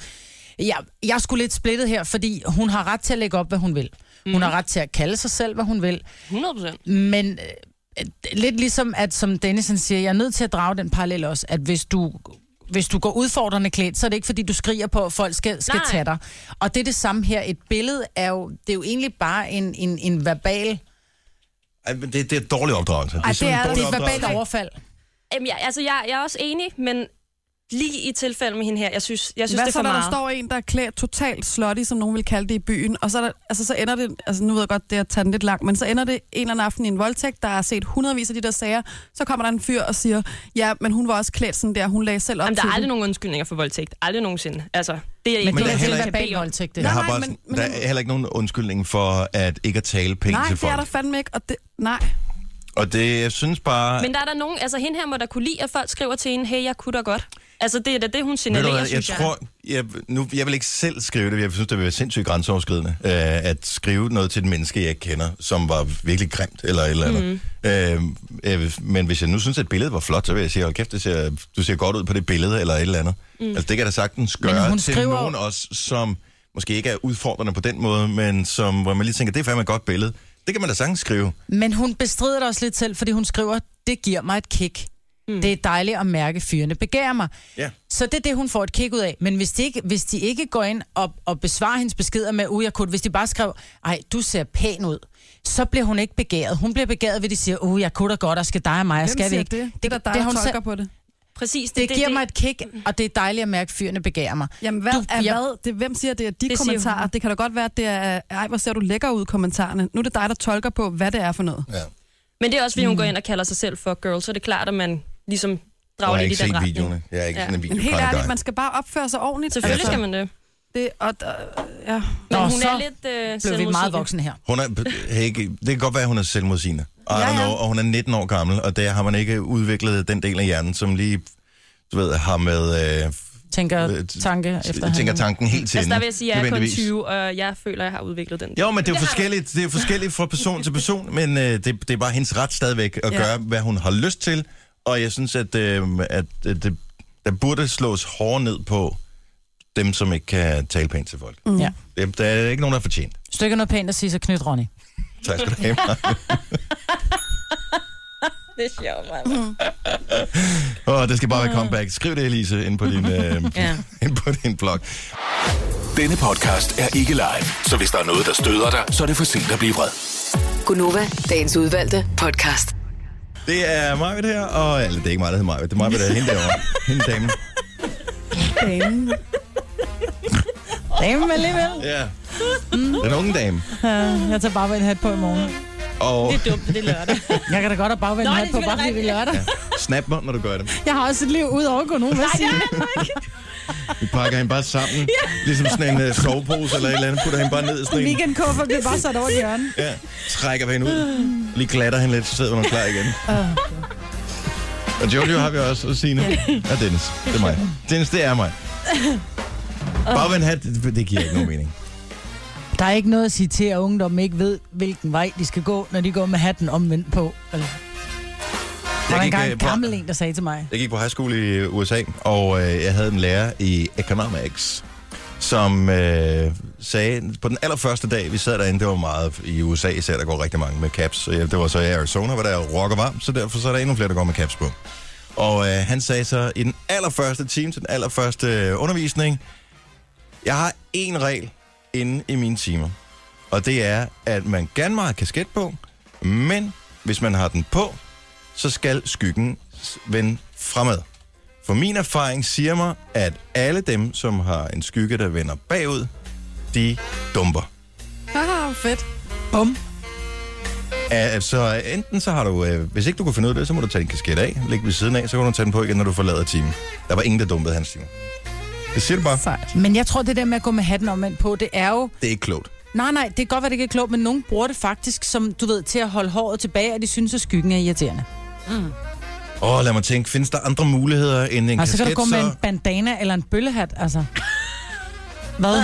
S5: Jeg, jeg skulle lidt splittet her, fordi hun har ret til at lægge op, hvad hun vil. Hun har ret til at kalde sig selv, hvad hun vil.
S7: 100 Mhm. procent.
S5: Men øh, lidt ligesom, at som Dennis han siger, jeg er nødt til at drage den parallel også, at hvis du hvis du går udfordrende klædt, så er det ikke, fordi du skriger på, at folk skal, skal
S7: Nej.
S5: tage dig. Og det er det samme her. Et billede er jo, det er jo egentlig bare en, en, en verbal...
S3: Ej, men det, det er dårlig opdragelse.
S5: Ej, det
S3: simpelthen
S5: er, det
S3: dårlig
S5: er et
S3: opdragelse.
S5: verbalt overfald.
S7: Jamen, jeg, altså, jeg, jeg er også enig, men lige i tilfældet med hende her, jeg synes, jeg synes
S6: Hvad
S7: det er
S6: så,
S7: for
S6: når
S7: meget.
S6: der står en, der er klædt totalt slutty, som nogen vil kalde det i byen, og så, er der, altså, så ender det, altså nu ved jeg godt, det er at tage den lidt langt, men så ender det en eller anden aften i en voldtægt, der har set hundredvis af de der sager, så kommer der en fyr og siger, ja, men hun var også klædt sådan der, hun lagde selv op
S7: Jamen, der
S6: til
S7: er aldrig
S6: det."
S7: nogen undskyldninger for voldtægt. Aldrig nogensinde. Altså, det er
S5: Men
S7: ikke
S5: det
S3: der
S5: er
S3: er
S7: noget,
S5: helt
S3: heller
S7: jeg
S3: ikke-
S7: kan bede
S5: verbal
S7: om.
S5: voldtægt, det
S3: Jeg
S5: her.
S3: har
S6: Nej,
S3: bare,
S6: men-
S3: sådan-
S6: men-
S3: der er heller ikke nogen undskyldning for at ikke at tale penge
S6: Nej,
S3: til
S6: det
S3: folk.
S6: er der fandme ikke, og det, nej.
S3: Og det, jeg synes bare...
S7: Men der er der nogen, altså hende her må da kunne lide, at folk skriver til hende, hey, jeg kunne da godt. Altså, det er da det, hun
S3: Ved du
S7: signalerer,
S3: hvad, jeg
S7: synes
S3: tror, jeg, nu, jeg vil ikke selv skrive det, men jeg synes, det vil være sindssygt grænseoverskridende, øh, at skrive noget til et menneske, jeg ikke kender, som var virkelig grimt, eller et eller
S7: Mhm.
S3: andet. Mm. Øh, øh, men hvis jeg nu synes, at billedet var flot, så vil jeg sige, hold kæft, det ser, du ser godt ud på det billede, eller et eller andet. Mm. Altså, det kan da sagtens gøre
S5: hun
S3: til
S5: skriver-
S3: nogen også, som måske ikke er udfordrende på den måde, men som, hvor man lige tænker, det er fandme et godt billede. Det kan man da sagtens skrive.
S5: Men hun bestrider det også lidt selv, fordi hun skriver, det giver mig et kick. Mm. Det er dejligt at mærke, fyrene begærer mig.
S3: Ja.
S5: Så det er det, hun får et kick ud af. Men hvis de ikke, hvis de ikke går ind og, og besvarer hendes beskeder med ujakut, hvis de bare skrev, ej, du ser pæn ud, så bliver hun ikke begæret. Hun bliver begæret, ved de siger, uh, jeg kunne da godt, og skal dig og mig, og
S6: Hvem
S5: skal vi
S6: siger
S5: ikke.
S6: det? Det, det er der dig,
S5: det,
S6: det,
S5: har hun
S6: der tolker
S5: selv,
S6: på det.
S7: jeg. Præcis.
S5: det giver mig et kick, og det er dejligt at mærke, at fyrene begærer mig.
S6: Jamen, hvad
S5: Du-
S6: du, er
S5: jeg-
S6: hvad? Det, hvem siger, det er de
S7: Det
S6: det
S7: siger
S6: kommentarer?
S7: hun.
S6: Det kan da godt være, at det er, ej, hvor ser du lækker ud, kommentarerne. Nu er det dig, der tolker på, hvad det er for noget.
S3: ja.
S7: Men det er også, fordi hun
S3: Mm.
S7: går ind og kalder sig selv fuck girl, så er det klart, at man ligesom
S3: Jeg
S7: drager
S3: har
S7: lidt
S3: ikke
S7: i den
S3: set
S7: retning.
S3: videoerne. Jeg er ikke ja.
S7: Ja.
S3: sådan en
S6: Men helt
S3: videopranker.
S6: ærligt, man skal bare opføre sig ordentligt.
S7: Selvfølgelig skal man det.
S6: altså, Det, og, og, ja.
S7: Men
S5: Nå,
S7: hun
S5: så
S7: er lidt øh,
S5: Blev vi meget
S7: selvmodsigende.
S5: voksne her.
S3: Hun er, hey, ikke- det kan godt være, at hun er selvmodsigende. I
S6: Ja,
S3: don't
S6: ja.
S3: know, og hun er 19 år gammel, og der har man ikke udviklet den del af hjernen, som lige du ved, har med... Øh,
S5: Tænker
S3: Øh,
S5: tanke efter
S3: tænker tanken helt til
S7: Altså, der
S3: ende,
S7: vil jeg sige, at jeg er kun
S3: nødvendigvis.
S7: 20, og jeg føler, at jeg har udviklet den.
S3: Jo, men det er jo forskelligt, det er forskelligt fra person til person, men øh, det, det er bare hendes ret stadigvæk at
S7: Ja.
S3: gøre, hvad hun har lyst til. Og jeg synes, at, øh, at øh, det, der burde slås hårdere ned på dem, som ikke kan tale pænt til folk.
S5: Mm. Ja.
S3: Det, der er ikke nogen, der har fortjent.
S5: Stykker noget pænt at sige, så knyt Ronny.
S3: Tak skal du have. Maja.
S7: Det er sjovt, man.
S3: Åh, det skal bare være comeback. Skriv det, Elise, ind på din, øh,
S4: Ja.
S3: ind på din blog.
S2: Denne podcast er ikke live, så hvis der er noget, der støder dig, så er det for sent at blive vred.
S1: Gunova, dagens udvalgte podcast.
S3: Det er Marvitt her, og... Eller, det er ikke mig, der hedder Marvitt. Det er Marvitt, der er hende derovre. Hende damen.
S6: Damen.
S5: Jamen alligevel. Mm.
S3: Ja. Den unge dame.
S5: Jeg tager bare en hat på i morgen.
S3: Og
S4: Det er dumt, det er lørdag.
S5: Jeg kan da godt have bagvendt
S4: Nå,
S5: hat
S4: det
S5: på,
S4: er
S5: bare fordi vi er lørdag.
S3: snap mig, når du gør det.
S5: Jeg har også et liv ud over kun nogen, hvad siger du?
S3: Vi pakker hende bare sammen. Ligesom sådan en øh, sovepose eller et eller andet. Putter hende bare ned i sådan en.
S5: Weekendkuffer bliver bare sat over i hjørnet.
S3: Ja. Trækker hende ud. Lige glatter hende lidt, så sidder hun klar igen. Og Jojo har vi også, og Signe. Og Dennis. Det er mig. Dennis, det er mig. Bare vend hat, det det giver ikke nogen mening.
S5: Der er ikke noget at sige til, at ungdommen ikke ved, hvilken vej de skal gå, når de går med hatten omvendt på. Eller... Der var
S3: gik,
S5: engang
S3: øh,
S5: en
S3: på-
S5: gammel en, der sagde til mig.
S3: Jeg gik på high school i øh, USA, og øh, jeg havde en lærer i economics, som øh, sagde, på den allerførste dag, vi sad derinde, det var meget i USA især, der går rigtig mange med caps. Så, ja, det var så i Arizona, hvor der er rock og varmt, så derfor så er der endnu flere, der går med caps på. Og øh, han sagde så, i den allerførste time, til den allerførste øh, undervisning, jeg har én regel inde i mine timer. Og det er, at man gerne må have kasket på, men hvis man har den på, så skal skyggen s- vende fremad. For min erfaring siger mig, at alle dem, som har en skygge, der vender bagud, de dumper.
S6: Ah, fedt.
S3: Ah, Så enten så har du, øh, hvis ikke du kunne finde ud af det, så må du tage din kasket af, lægge den ved siden af, så kan du tage den på igen, når du forlader timen. Der var ingen, der dumpede hans time. Det siger du bare.
S6: Sejt.
S5: Men jeg tror, det der med at gå med hatten omvendt på, det er jo...
S3: Det er ikke klogt.
S5: Nej, nej, det kan godt være, det ikke er klogt, men nogen bruger det faktisk, som du ved, til at holde håret tilbage, og de synes, at skyggen er irriterende.
S3: Åh, lad mig tænke, findes der andre muligheder end en
S5: Og Altså, så
S3: kasket?
S5: kan du gå med
S3: så...
S5: en bandana eller en bøllehat, altså. Hvad?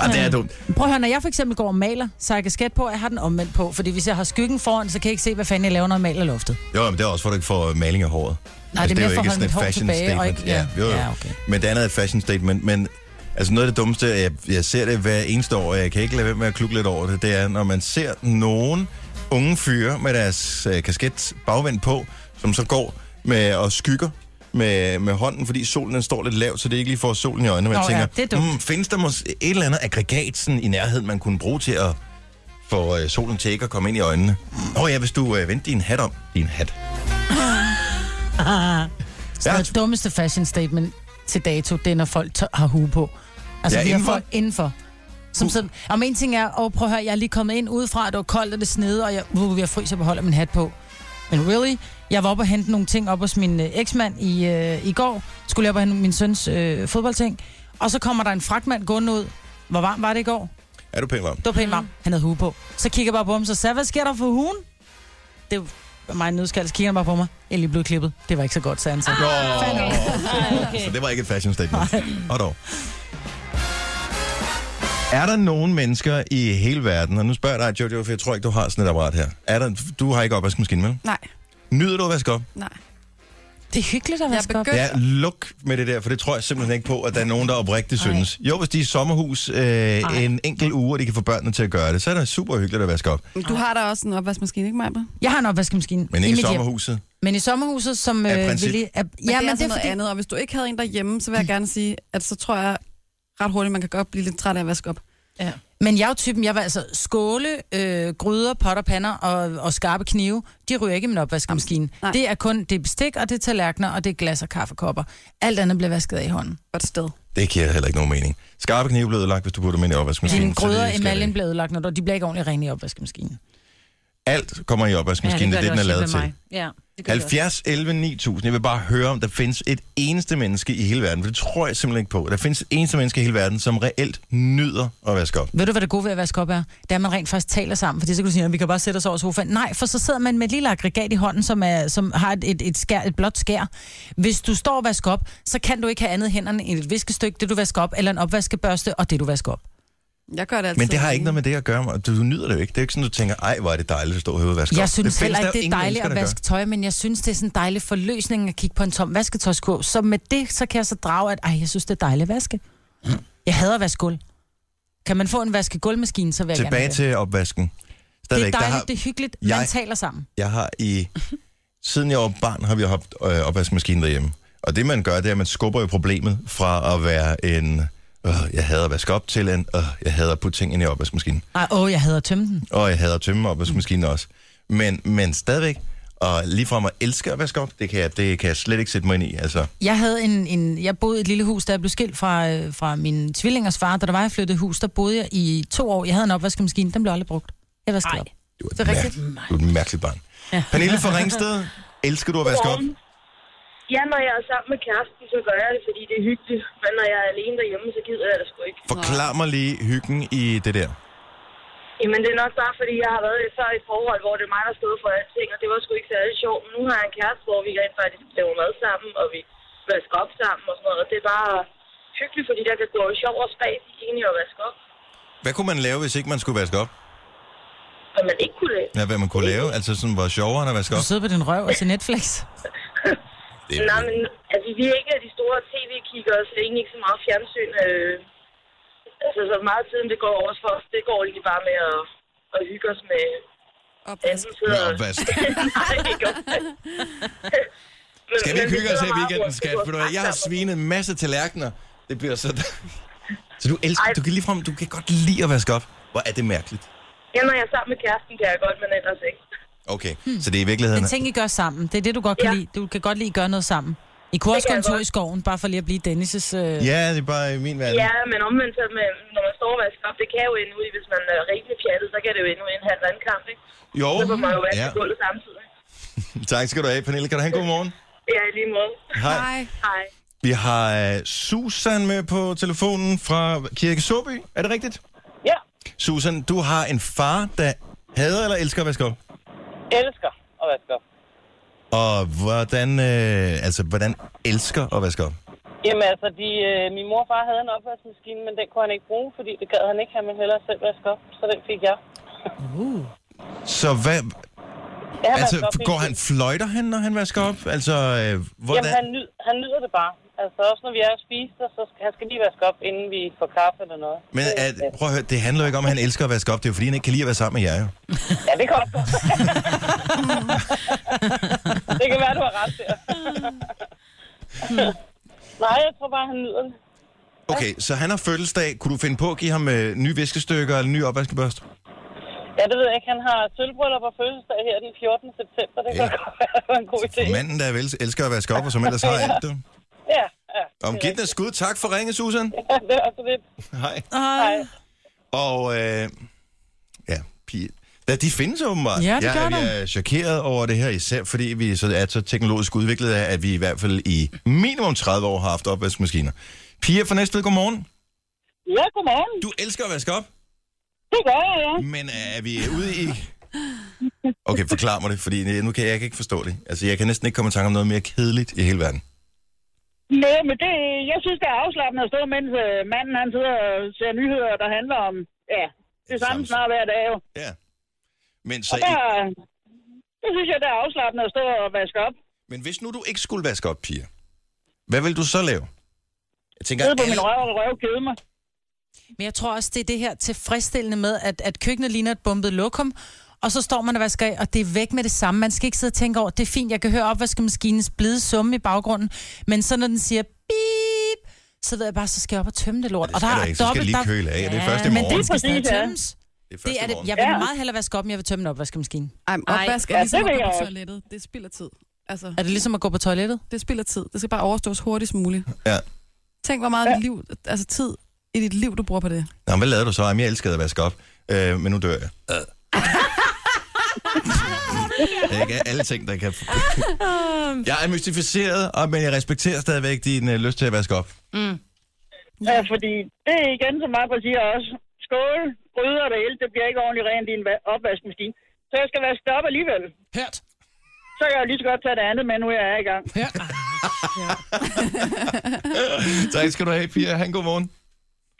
S3: Ah, det er dumt.
S5: Prøv at høre, når jeg for eksempel går og maler, så har jeg kasket på, og jeg har den omvendt på. Fordi hvis jeg har skyggen foran, så kan jeg ikke se, hvad fanden jeg laver, når jeg maler luftet.
S3: Jo, men det er også, for du ikke får maling af håret. Altså,
S5: Nej, det er mere
S3: jo
S5: for at
S3: ikke
S5: holde mit hår tilbage. Og
S3: statement.
S5: ikke,
S3: ja, jo, jo.
S5: ja, okay.
S3: Men det andet er et fashion statement, men altså noget af det dummeste, jeg, jeg ser det hver eneste år, og jeg kan ikke lade være med at klukke lidt over det, det er, når man ser nogen unge fyre med deres øh, kasket bagvendt på, som så går med og skygger med, med hånden, fordi solen den står lidt lavt, så det ikke lige får solen i øjnene. Man
S5: Nå ja,
S3: tænker,
S5: det er dumt.
S3: "Hmm, findes der måske et eller andet aggregat sådan, i nærheden, man kunne bruge til at få øh, solen til ikke at komme ind i øjnene? Nå ja, hvis du øh, vendte din hat om. Din hat.
S5: Så det dummeste fashion statement til dato, det er, når folk tør, har hue på. Altså,
S3: Ja,
S5: ja, vi har
S3: indenfor.
S5: folk indenfor. Som sådan, om en ting er, og prøv at høre, jeg er lige kommet ind udefra, det var koldt, og det snede, og jeg, uh, jeg fryser på holdet min hat på. Men really, jeg var oppe og hente nogle ting op hos min øh, eksmand i, øh, i går. Skulle jeg op og hente min søns øh, fodboldting. Og så kommer der en fragtmand gående ud. Hvor varmt var det i går?
S3: Er du pæn varm?
S5: Det var pænt varmt. Mm. Han havde hue på. Så kigger jeg bare på ham, så sagde, jeg, hvad sker der for huen? Det var mig en nødskal, så kigger han bare på mig. Jeg er lige blevet klippet. Det var ikke så godt, sagde han så.
S3: Nå,
S4: okay.
S3: så det var ikke et fashion statement. Og dog. Er der nogen mennesker i hele verden, og nu spørger jeg dig, Jojo, for jeg tror ikke, du har sådan et apparat her. Er der, du har ikke opvaskemaskinen, vel?
S6: Nej,
S3: Nyder du at vaske op?
S6: nej.
S5: Det er hyggeligt at
S6: Jeg
S5: vaske op.
S6: begyndte-
S3: Ja, luk med det der, for det tror jeg simpelthen ikke på, at der er nogen, der oprigtigt synes. Jo, hvis de er i sommerhus øh, en enkelt uge, og de kan få børnene til at gøre det, så er det super hyggeligt at vaske op.
S6: Du har da også en opvaskemaskine, ikke mig? Men
S5: Jeg har en opvaskemaskine.
S3: Men ikke i
S5: mit hjem.
S3: sommerhuset.
S5: Men i sommerhuset, som...
S3: Af
S5: øh,
S3: princip.
S5: lige- er,
S6: ja,
S5: ja,
S6: det er
S5: men
S6: altså
S5: det er
S6: noget
S5: fordi,
S6: andet, og hvis du ikke havde en derhjemme, så vil jeg gerne sige, at så tror jeg ret hurtigt, man kan godt blive lidt træt af at vaske op.
S5: Men jeg er jo typen, jeg var altså skåle, øh, gryder, potter, pander og, og skarpe knive, de ryger ikke i min opvaskemaskine.
S6: Nej.
S5: Det er kun det er bestik, og det er tallerkener, og det er glas og kaffekopper. Alt andet bliver vasket af i hånden.
S6: Godt sted.
S3: Det giver heller ikke nogen mening. Skarpe knive blev ødelagt, hvis du putter dem ind i opvaskemaskinen.
S5: Dine
S3: så det
S5: gryder
S3: skal vi
S5: emaljen
S3: ikke.
S5: bliver ødelagt, når du- de bliver ikke ordentligt rene i opvaskemaskinen.
S3: Alt kommer i opvaskemaskinen, ja, det er det, den er lavet til.
S4: Ja, det gør det også.
S3: 70, 11, 9000. Jeg vil bare høre, om der findes et eneste menneske i hele verden, for det tror jeg simpelthen ikke på. Der findes et eneste menneske i hele verden, som reelt nyder at vaske op.
S5: Ved du, hvad det gode ved at vaske op er? Det er, at man rent faktisk taler sammen, fordi så kan du sige, at vi kan bare sætte os over sofaen. Nej, for så sidder man med et lille aggregat i hånden, som, er, som har et, et, et, skær, et blåt skær. Hvis du står og vasker op, så kan du ikke have andet i hænderne end et viskestykke, det du vasker op, eller en opvaskebørste, og det du vasker op.
S6: Jeg gør
S5: Altså,
S6: det altid.
S3: Men det
S5: øh,
S3: har ikke noget med det at gøre. og Du nyder det jo ikke. Det er jo ikke sådan, du tænker, ej, hvor er det dejligt at stå herude og vaske op.
S5: Jeg synes
S3: findes
S5: heller
S3: der
S5: ikke,
S3: jo
S5: det er
S3: ingen
S5: dejligt at
S3: mennesker, der
S5: vaske tøj, men jeg synes, det er sådan en dejlig forløsning at kigge på en tom vasketøjskurv. Så med det, så kan jeg så drage, at ej, jeg synes, det er dejligt at vaske. Jeg hader at vaske gulv. Kan man få en vaskegulvmaskine, så vil
S3: gør.
S5: jeg gerne
S3: Tilbage til
S5: have
S3: opvasken.
S5: det. Det
S3: Stadigvæk, der
S5: er dejligt,
S3: har,
S5: det er hyggeligt, man
S3: Jeg-
S5: taler sammen.
S3: jeg har i... Siden jeg var barn, har vi haft øh, opvaskemaskinen derhjemme. Og det, man gør, det er, at man skubber jo problemet fra at være en... Øh, jeg hader at vaske op til en... Øh, jeg hader at putte ting ind i opvaskemaskinen.
S5: Ej, åh, jeg hader at tømme den.
S3: Og jeg hader at tømme opvaskemaskinen også. Men, men stadigvæk, og ligefrem at elske at vaske op, det kan, jeg, det kan jeg slet ikke sætte mig ind i. Altså,
S5: Jeg havde en, en, jeg boede i et lille hus, da jeg blev skilt fra, øh, fra min tvillingers far. Da der var, jeg flyttede i hus, der boede jeg i to år. Jeg havde en opvaskemaskine, den blev aldrig brugt. Jeg vaskede op.
S3: du er, det er, mærke, du er et mærkeligt barn. Ja. Pernille fra Ringsted, elsker du at vaske op?
S8: Ja, når jeg er sammen med kæresten, så gør jeg det, fordi det er hyggeligt. Men når jeg er alene derhjemme, så gider jeg det sgu ikke.
S3: Forklar mig lige hyggen i det der.
S9: Jamen, det er nok bare, fordi jeg har været i før i et forhold, hvor det er mig, der stod for alting, og det var sgu ikke særlig sjovt. Men nu har jeg en kæreste, hvor vi rent faktisk laver mad sammen, og vi vasker op sammen og sådan noget, og det er bare hyggeligt, fordi der kan gå sjov og spas i enige og vaske op,
S3: Hvad kunne man lave, hvis ikke man skulle vaske op?
S9: og man ikke kunne det.
S3: Ja, hvad man kunne lave, altså sådan, var sjovere end at vaske
S5: Du
S3: op.
S5: sidder på din røv og til Netflix.
S3: Det
S9: Nej,
S3: er,
S9: men altså, vi er ikke de store tv-kiggere, så det er egentlig ikke så meget fjernsyn. Øh, altså, så meget af tiden, det går over for os, det går egentlig bare med at, at hygge os med
S6: Opvask.
S9: enten sidder...
S3: Med opvask.
S9: Nej, ikke opvask. Men-
S3: skal vi
S9: men
S3: ikke hygge os her
S9: sidder
S3: i
S9: meget
S3: weekenden,
S9: hurtigt,
S3: skat?
S9: det går
S3: Ved du hvad, Jeg har
S9: sammen.
S3: svinet en masse tallerkener. Det bliver så... Så du elsker, du kan ligefrem, du kan godt lide at vaske op. Hvor er det mærkeligt.
S9: Ja, når jeg er sammen med kæresten, kan jeg godt, men ellers ikke.
S3: Okay, så det er i
S5: Det
S3: virkeligheden...
S5: er ting, I gør sammen. Det er det, du godt kan
S9: Ja.
S5: lide. Du kan godt lide at gøre noget sammen. I kunne også
S9: kan
S5: gå en
S9: jeg
S5: tur
S9: godt.
S5: i skoven, bare for lige at blive Dennis' øh,
S3: Ja, det er bare i min verden.
S9: Ja, men omvendt, så med, når man står og vasker op, det kan jo ende ud i, hvis man er rigtig pjattet, så kan det jo ende ud i en halv vandkamp, ikke?
S3: Jo,
S9: Så må man jo vaske
S3: ja.
S9: gulvet samtidig.
S3: tak skal du have, Pernille. Kan du have en god morgen?
S9: Ja, i lige måde.
S6: Hej.
S9: Hej.
S3: Vi har øh, Susan med på telefonen fra Kirke Såby. Er det rigtigt?
S8: Ja,
S3: Susan, du har en far, der hader eller elsker at vaske op.
S8: elsker at vaske op.
S3: Og hvordan, øh, altså, hvordan elsker at vaske op?
S8: Jamen altså, de, øh, min mor og far havde en opvaskemaskine, men den kunne han ikke bruge, fordi det gad han ikke. Han ville hellere selv vaske op, så den fik jeg.
S3: Uh. Så hvad,
S8: Ja, han vasker
S3: altså,
S8: op
S3: går
S8: hele
S3: han,
S8: tiden.
S3: fløjter han, når han vasker op? Altså, øh,
S8: Jamen, han,
S3: hvordan?
S8: nyd, han nyder det bare. Altså, også når vi er og spiser, så skal han skal lige vaske op, inden vi får kaffe eller noget.
S3: Men
S8: Det-
S3: at, prøv at høre, det handler jo ikke om, at han elsker at vaske op. Det er jo fordi, han ikke kan lide at være sammen med jer, jo.
S8: Ja, det kan også godt. det kan være, du har ret der. Nej, jeg tror bare, han nyder det.
S3: Okay, så han har fødselsdag. Kunne du finde på at give ham øh, nye viskestykker eller nye opvaskebørster?
S8: Ja, det ved jeg ikke. Han har sølvbryllup og fødselsdag her den 14. september. Det kan
S3: Ja.
S8: ja. godt være, det var en god idé.
S3: For manden, der vel elsker at vaske op, og som ellers har alt det.
S8: Ja, ja.
S3: Om giv den et skud. Tak for ringe, Susan.
S8: det er altså lidt.
S3: Hej.
S8: Hej.
S3: Og øh, ja, pige. Ja, de findes åbenbart.
S5: Ja, det
S3: jeg,
S5: gør
S3: er-
S5: der.
S3: jeg er chokeret over det her, især fordi vi så er så teknologisk udviklet, at vi i hvert fald i minimum 30 år har haft opvaskemaskiner. Pia fra Næstved, godmorgen.
S8: Ja, godmorgen.
S3: Du elsker at vaske op,
S8: Det gør jeg, ja.
S3: men øh, er vi ude i... Okay, forklar mig det, fordi nu kan jeg, jeg kan ikke forstå det. Altså, jeg kan næsten ikke komme i tanke om noget mere kedeligt i hele verden.
S8: Nej, men det, jeg synes, det er afslappende at stå, mens øh, manden han sidder og ser nyheder, der handler om ja, det samme
S3: Samme.
S8: snart hver dag. Jo.
S3: Ja. Men, så,
S8: Og der, der synes jeg, det er afslappende at stå og vaske op.
S3: men hvis nu du ikke skulle vaske op, Pia, hvad vil du så lave? Jeg tænker,
S8: Sidde på
S3: alle-
S8: min røv og røv kede mig.
S5: Men jeg tror også, det er det her tilfredsstillende med, at, at køkkenet ligner et bumpet lokum, og så står man og vasker af, og det er væk med det samme. Man skal ikke sidde og tænke over, det er fint, jeg kan høre opvaskemaskinens blide summe i baggrunden, men så når den siger bip, så ved jeg bare, så skal jeg op og tømme det lort.
S3: Og der er ikke, så skal jeg lige køle af. Ja, det er først i
S5: men
S3: morgen.
S5: den skal
S8: Det er
S5: stadig
S8: præcis, ja.
S5: tømmes.
S3: det, er
S5: Det er det. Jeg
S3: Ja.
S5: vil
S8: Ja.
S5: meget hellere vaske op, end jeg vil tømme en opvaskemaskine.
S6: Ej, men opvask er
S8: Ja,
S6: ligesom
S8: det
S6: at
S8: vil
S6: gå på
S8: jeg-
S6: toilettet. Det spilder tid. Altså,
S5: Er det ligesom at gå på toilettet?
S6: det spilder tid. Det skal bare overstås hurtigst muligt.
S3: Ja.
S6: Tænk, hvor meget liv, altså tid i dit liv, du bruger på det.
S3: Nå, men hvad lavede du så? Jamen, jeg elskede at vaske op, øh, men nu dør jeg. Øh. det er ikke alle ting, der kan... jeg er mystificeret, og- men jeg respekterer stadigvæk din øh, lyst til at vaske op.
S8: Ja, fordi det er igen, som Marbert siger også. Skål, gryder og det hele, det bliver ikke ordentligt rent i en va- opvaskemaskine. Så jeg skal vaske det op alligevel.
S5: Hørt.
S8: Så kan jeg jo lige så godt tage det andet med, nu jeg er i gang.
S5: Hørt.
S3: tak skal du have, Pia. Ha' en god morgen.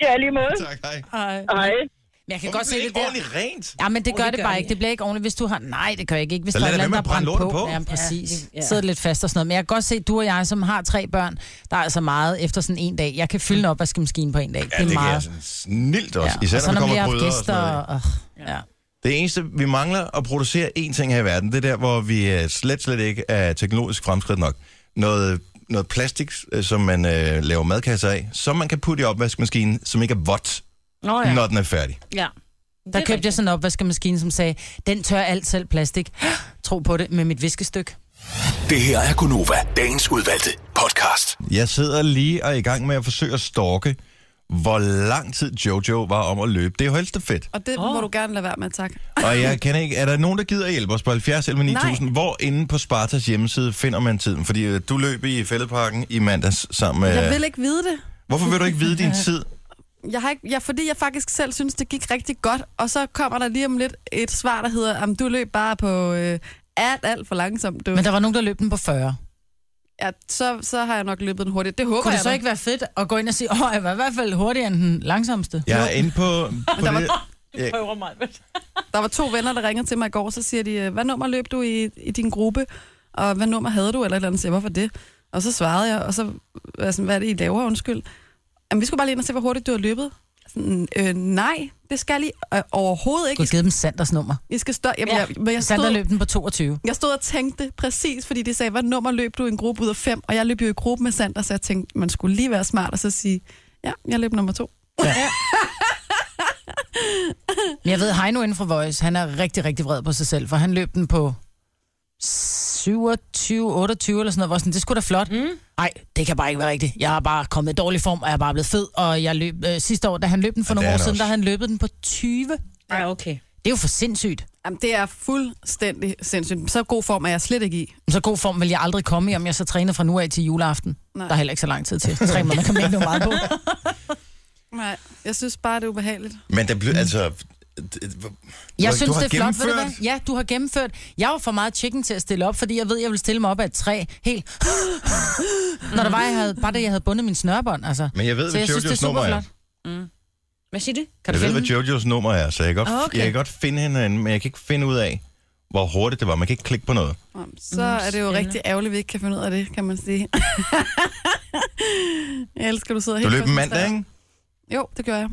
S8: Ja, lige måde.
S3: Tak, hej.
S5: Ej.
S8: Hej.
S5: Men jeg kan
S3: Hvorfor
S5: godt se
S3: bliver
S5: det
S3: ikke
S5: der.
S3: ordentligt rent?
S5: Ja, men det gør det,
S4: gør
S5: bare
S4: det
S5: ikke. Det bliver ikke ordentligt, hvis du har... Nej, det gør jeg ikke. Hvis
S3: Så
S5: der er
S3: lad
S5: et
S3: da
S5: eller andet, der
S3: være
S5: er
S3: med at
S5: brændt
S3: brænde
S5: på.
S3: lortet på.
S5: på. Ja, præcis.
S4: Ja.
S5: Ja. Sidder lidt fast og sådan noget. Men jeg kan godt se, at du og jeg, som har tre børn, der er altså meget efter sådan en dag. Jeg kan fylde en opvaskemaskine på en dag.
S3: Ja, det, det kan
S5: meget.
S3: jeg sådan snilt også. Ja.
S5: Ja.
S3: Især
S5: og
S3: når
S5: så
S3: der
S5: når vi
S3: kommer
S5: har
S3: bryder
S5: haft
S3: og sådan noget.
S5: gæster...
S3: ikke?
S5: Og, øh, ja.
S3: Det eneste, vi mangler at producere én ting her i verden, det er der, hvor vi øh, slet, slet ikke er teknologisk fremskridt nok. Noget, noget plastik, øh, som man øh, laver madkasser af, som man kan putte i opvaskemaskinen, som ikke er vådt,
S4: Nå
S3: oh,
S4: ja.
S3: ja. når den er færdig.
S4: ja.
S5: Der købte jeg sådan en opvaskemaskine, som sagde, den tør alt selv plastik. Tro på det med mit viskestykke.
S2: Det her er Gunova, dagens udvalgte podcast.
S3: Jeg sidder lige og er i gang med at forsøge at stalke, hvor lang tid Jojo var om at løbe. Det er holdt fedt.
S6: Og det oh. må du gerne lade være med, tak.
S3: Og jeg kan ikke, er der nogen, der gider hjælpe os på 70 11 9000? Hvor inde på Spartas hjemmeside finder man tiden? Fordi øh, du løb i fældeparken i mandags sammen med...
S6: Jeg vil ikke vide det.
S3: Hvorfor vil du ikke vide din tid?
S6: jeg har ikke, jeg, fordi jeg faktisk selv synes, det gik rigtig godt, og så kommer der lige om lidt et svar, der hedder, om du løb bare på øh, alt, alt for langsomt. Du.
S5: Men der var nogen, der løb den på 40.
S6: ja, så, så har jeg nok løbet den hurtigt. Det håber
S5: Kunne
S6: jeg
S5: det så
S6: da.
S5: ikke være fedt at gå ind og sige, åh, jeg var i hvert fald hurtigere end den langsomste?
S3: Jeg er inde på, på det.
S4: Prøver mig, vel?
S6: Der var to venner, der ringede til mig i går, så siger de, øh, hvad nummer løb du i, i din gruppe, og hvad nummer havde du, eller et eller andet, Så siger, jeg, hvorfor det? Og så svarede jeg, og så var jeg sådan, hvad er det, I laver, undskyld? Jamen, vi skulle bare lige ind og se, hvor hurtigt du har løbet. Sådan, øh, nej, det skal I øh, overhovedet ikke.
S5: Kunne
S6: I
S5: have givet dem Sanders nummer.
S6: skal- I skal stå... Jamen,
S4: Ja.
S6: jeg, men jeg
S5: Sander
S6: stod,
S5: løb den på 22.
S6: jeg stod og tænkte det præcis, fordi de sagde, hvad nummer løb du i en gruppe ud af fem? Og jeg løb jo i gruppe med Sander, så jeg tænkte, man skulle lige være smart og så sige, ja, jeg løb nummer to.
S5: Men jeg ved, Heino inden for Voice, han er rigtig, rigtig vred på sig selv, for han løb den på 27, 28 eller sådan noget. Hvor jeg sådan, det skulle da flot. Nej, det kan bare ikke være rigtigt. Jeg er bare kommet i dårlig form, og jeg er bare blevet fed. Og jeg løb, øh, sidste år, da han løb den for
S3: Og
S5: nogle
S3: det er
S5: år
S3: han
S5: siden,
S3: også.
S5: der han løbet den på 20. Det
S4: Ja, okay.
S5: er jo for sindssygt.
S6: Jamen, det er fuldstændig sindssygt. Så god form er jeg slet ikke i.
S5: Så god form vil jeg aldrig komme i, om jeg så træner fra nu af til juleaften. Nej.
S6: Nej.
S5: Der er heller ikke så lang tid til. Tre måneder kan man ikke nå meget på.
S6: Nej, jeg synes bare, det er ubehageligt.
S3: Men der blev, altså... det- hvor-
S5: Jeg
S3: du
S5: synes,
S3: har
S5: det er flot, ved du hvad?
S3: gennemført.
S5: Ja, du har gennemført. Jeg var for meget chicken til at stille op, fordi jeg ved, jeg ville stille mig op af et træ helt... Når der var, jeg havde, bare det, jeg havde bundet min snørbånd, altså.
S3: Men jeg ved,
S5: Så
S3: hvad
S5: jeg synes, det er
S3: Jojos nummer er.
S5: superflot.
S4: Mm. Hvad siger du?
S5: Kan du
S3: Jeg ved,
S5: finde
S3: hvad
S5: den?
S3: Jojos nummer er, så jeg kan godt,
S5: Ah, okay.
S3: jeg kan godt finde hende, herinde, men jeg kan ikke finde ud af, hvor hurtigt det var. Man kan ikke klikke på noget.
S6: Om,
S4: Mm,
S6: Så er det jo rigtig ærgerligt, at vi ikke kan finde ud af det, kan man sige. jeg elsker, du sidder
S3: Du
S6: helt
S3: løb
S6: koncentreret.
S3: mandag, ikke?
S6: Jo, det gør jeg.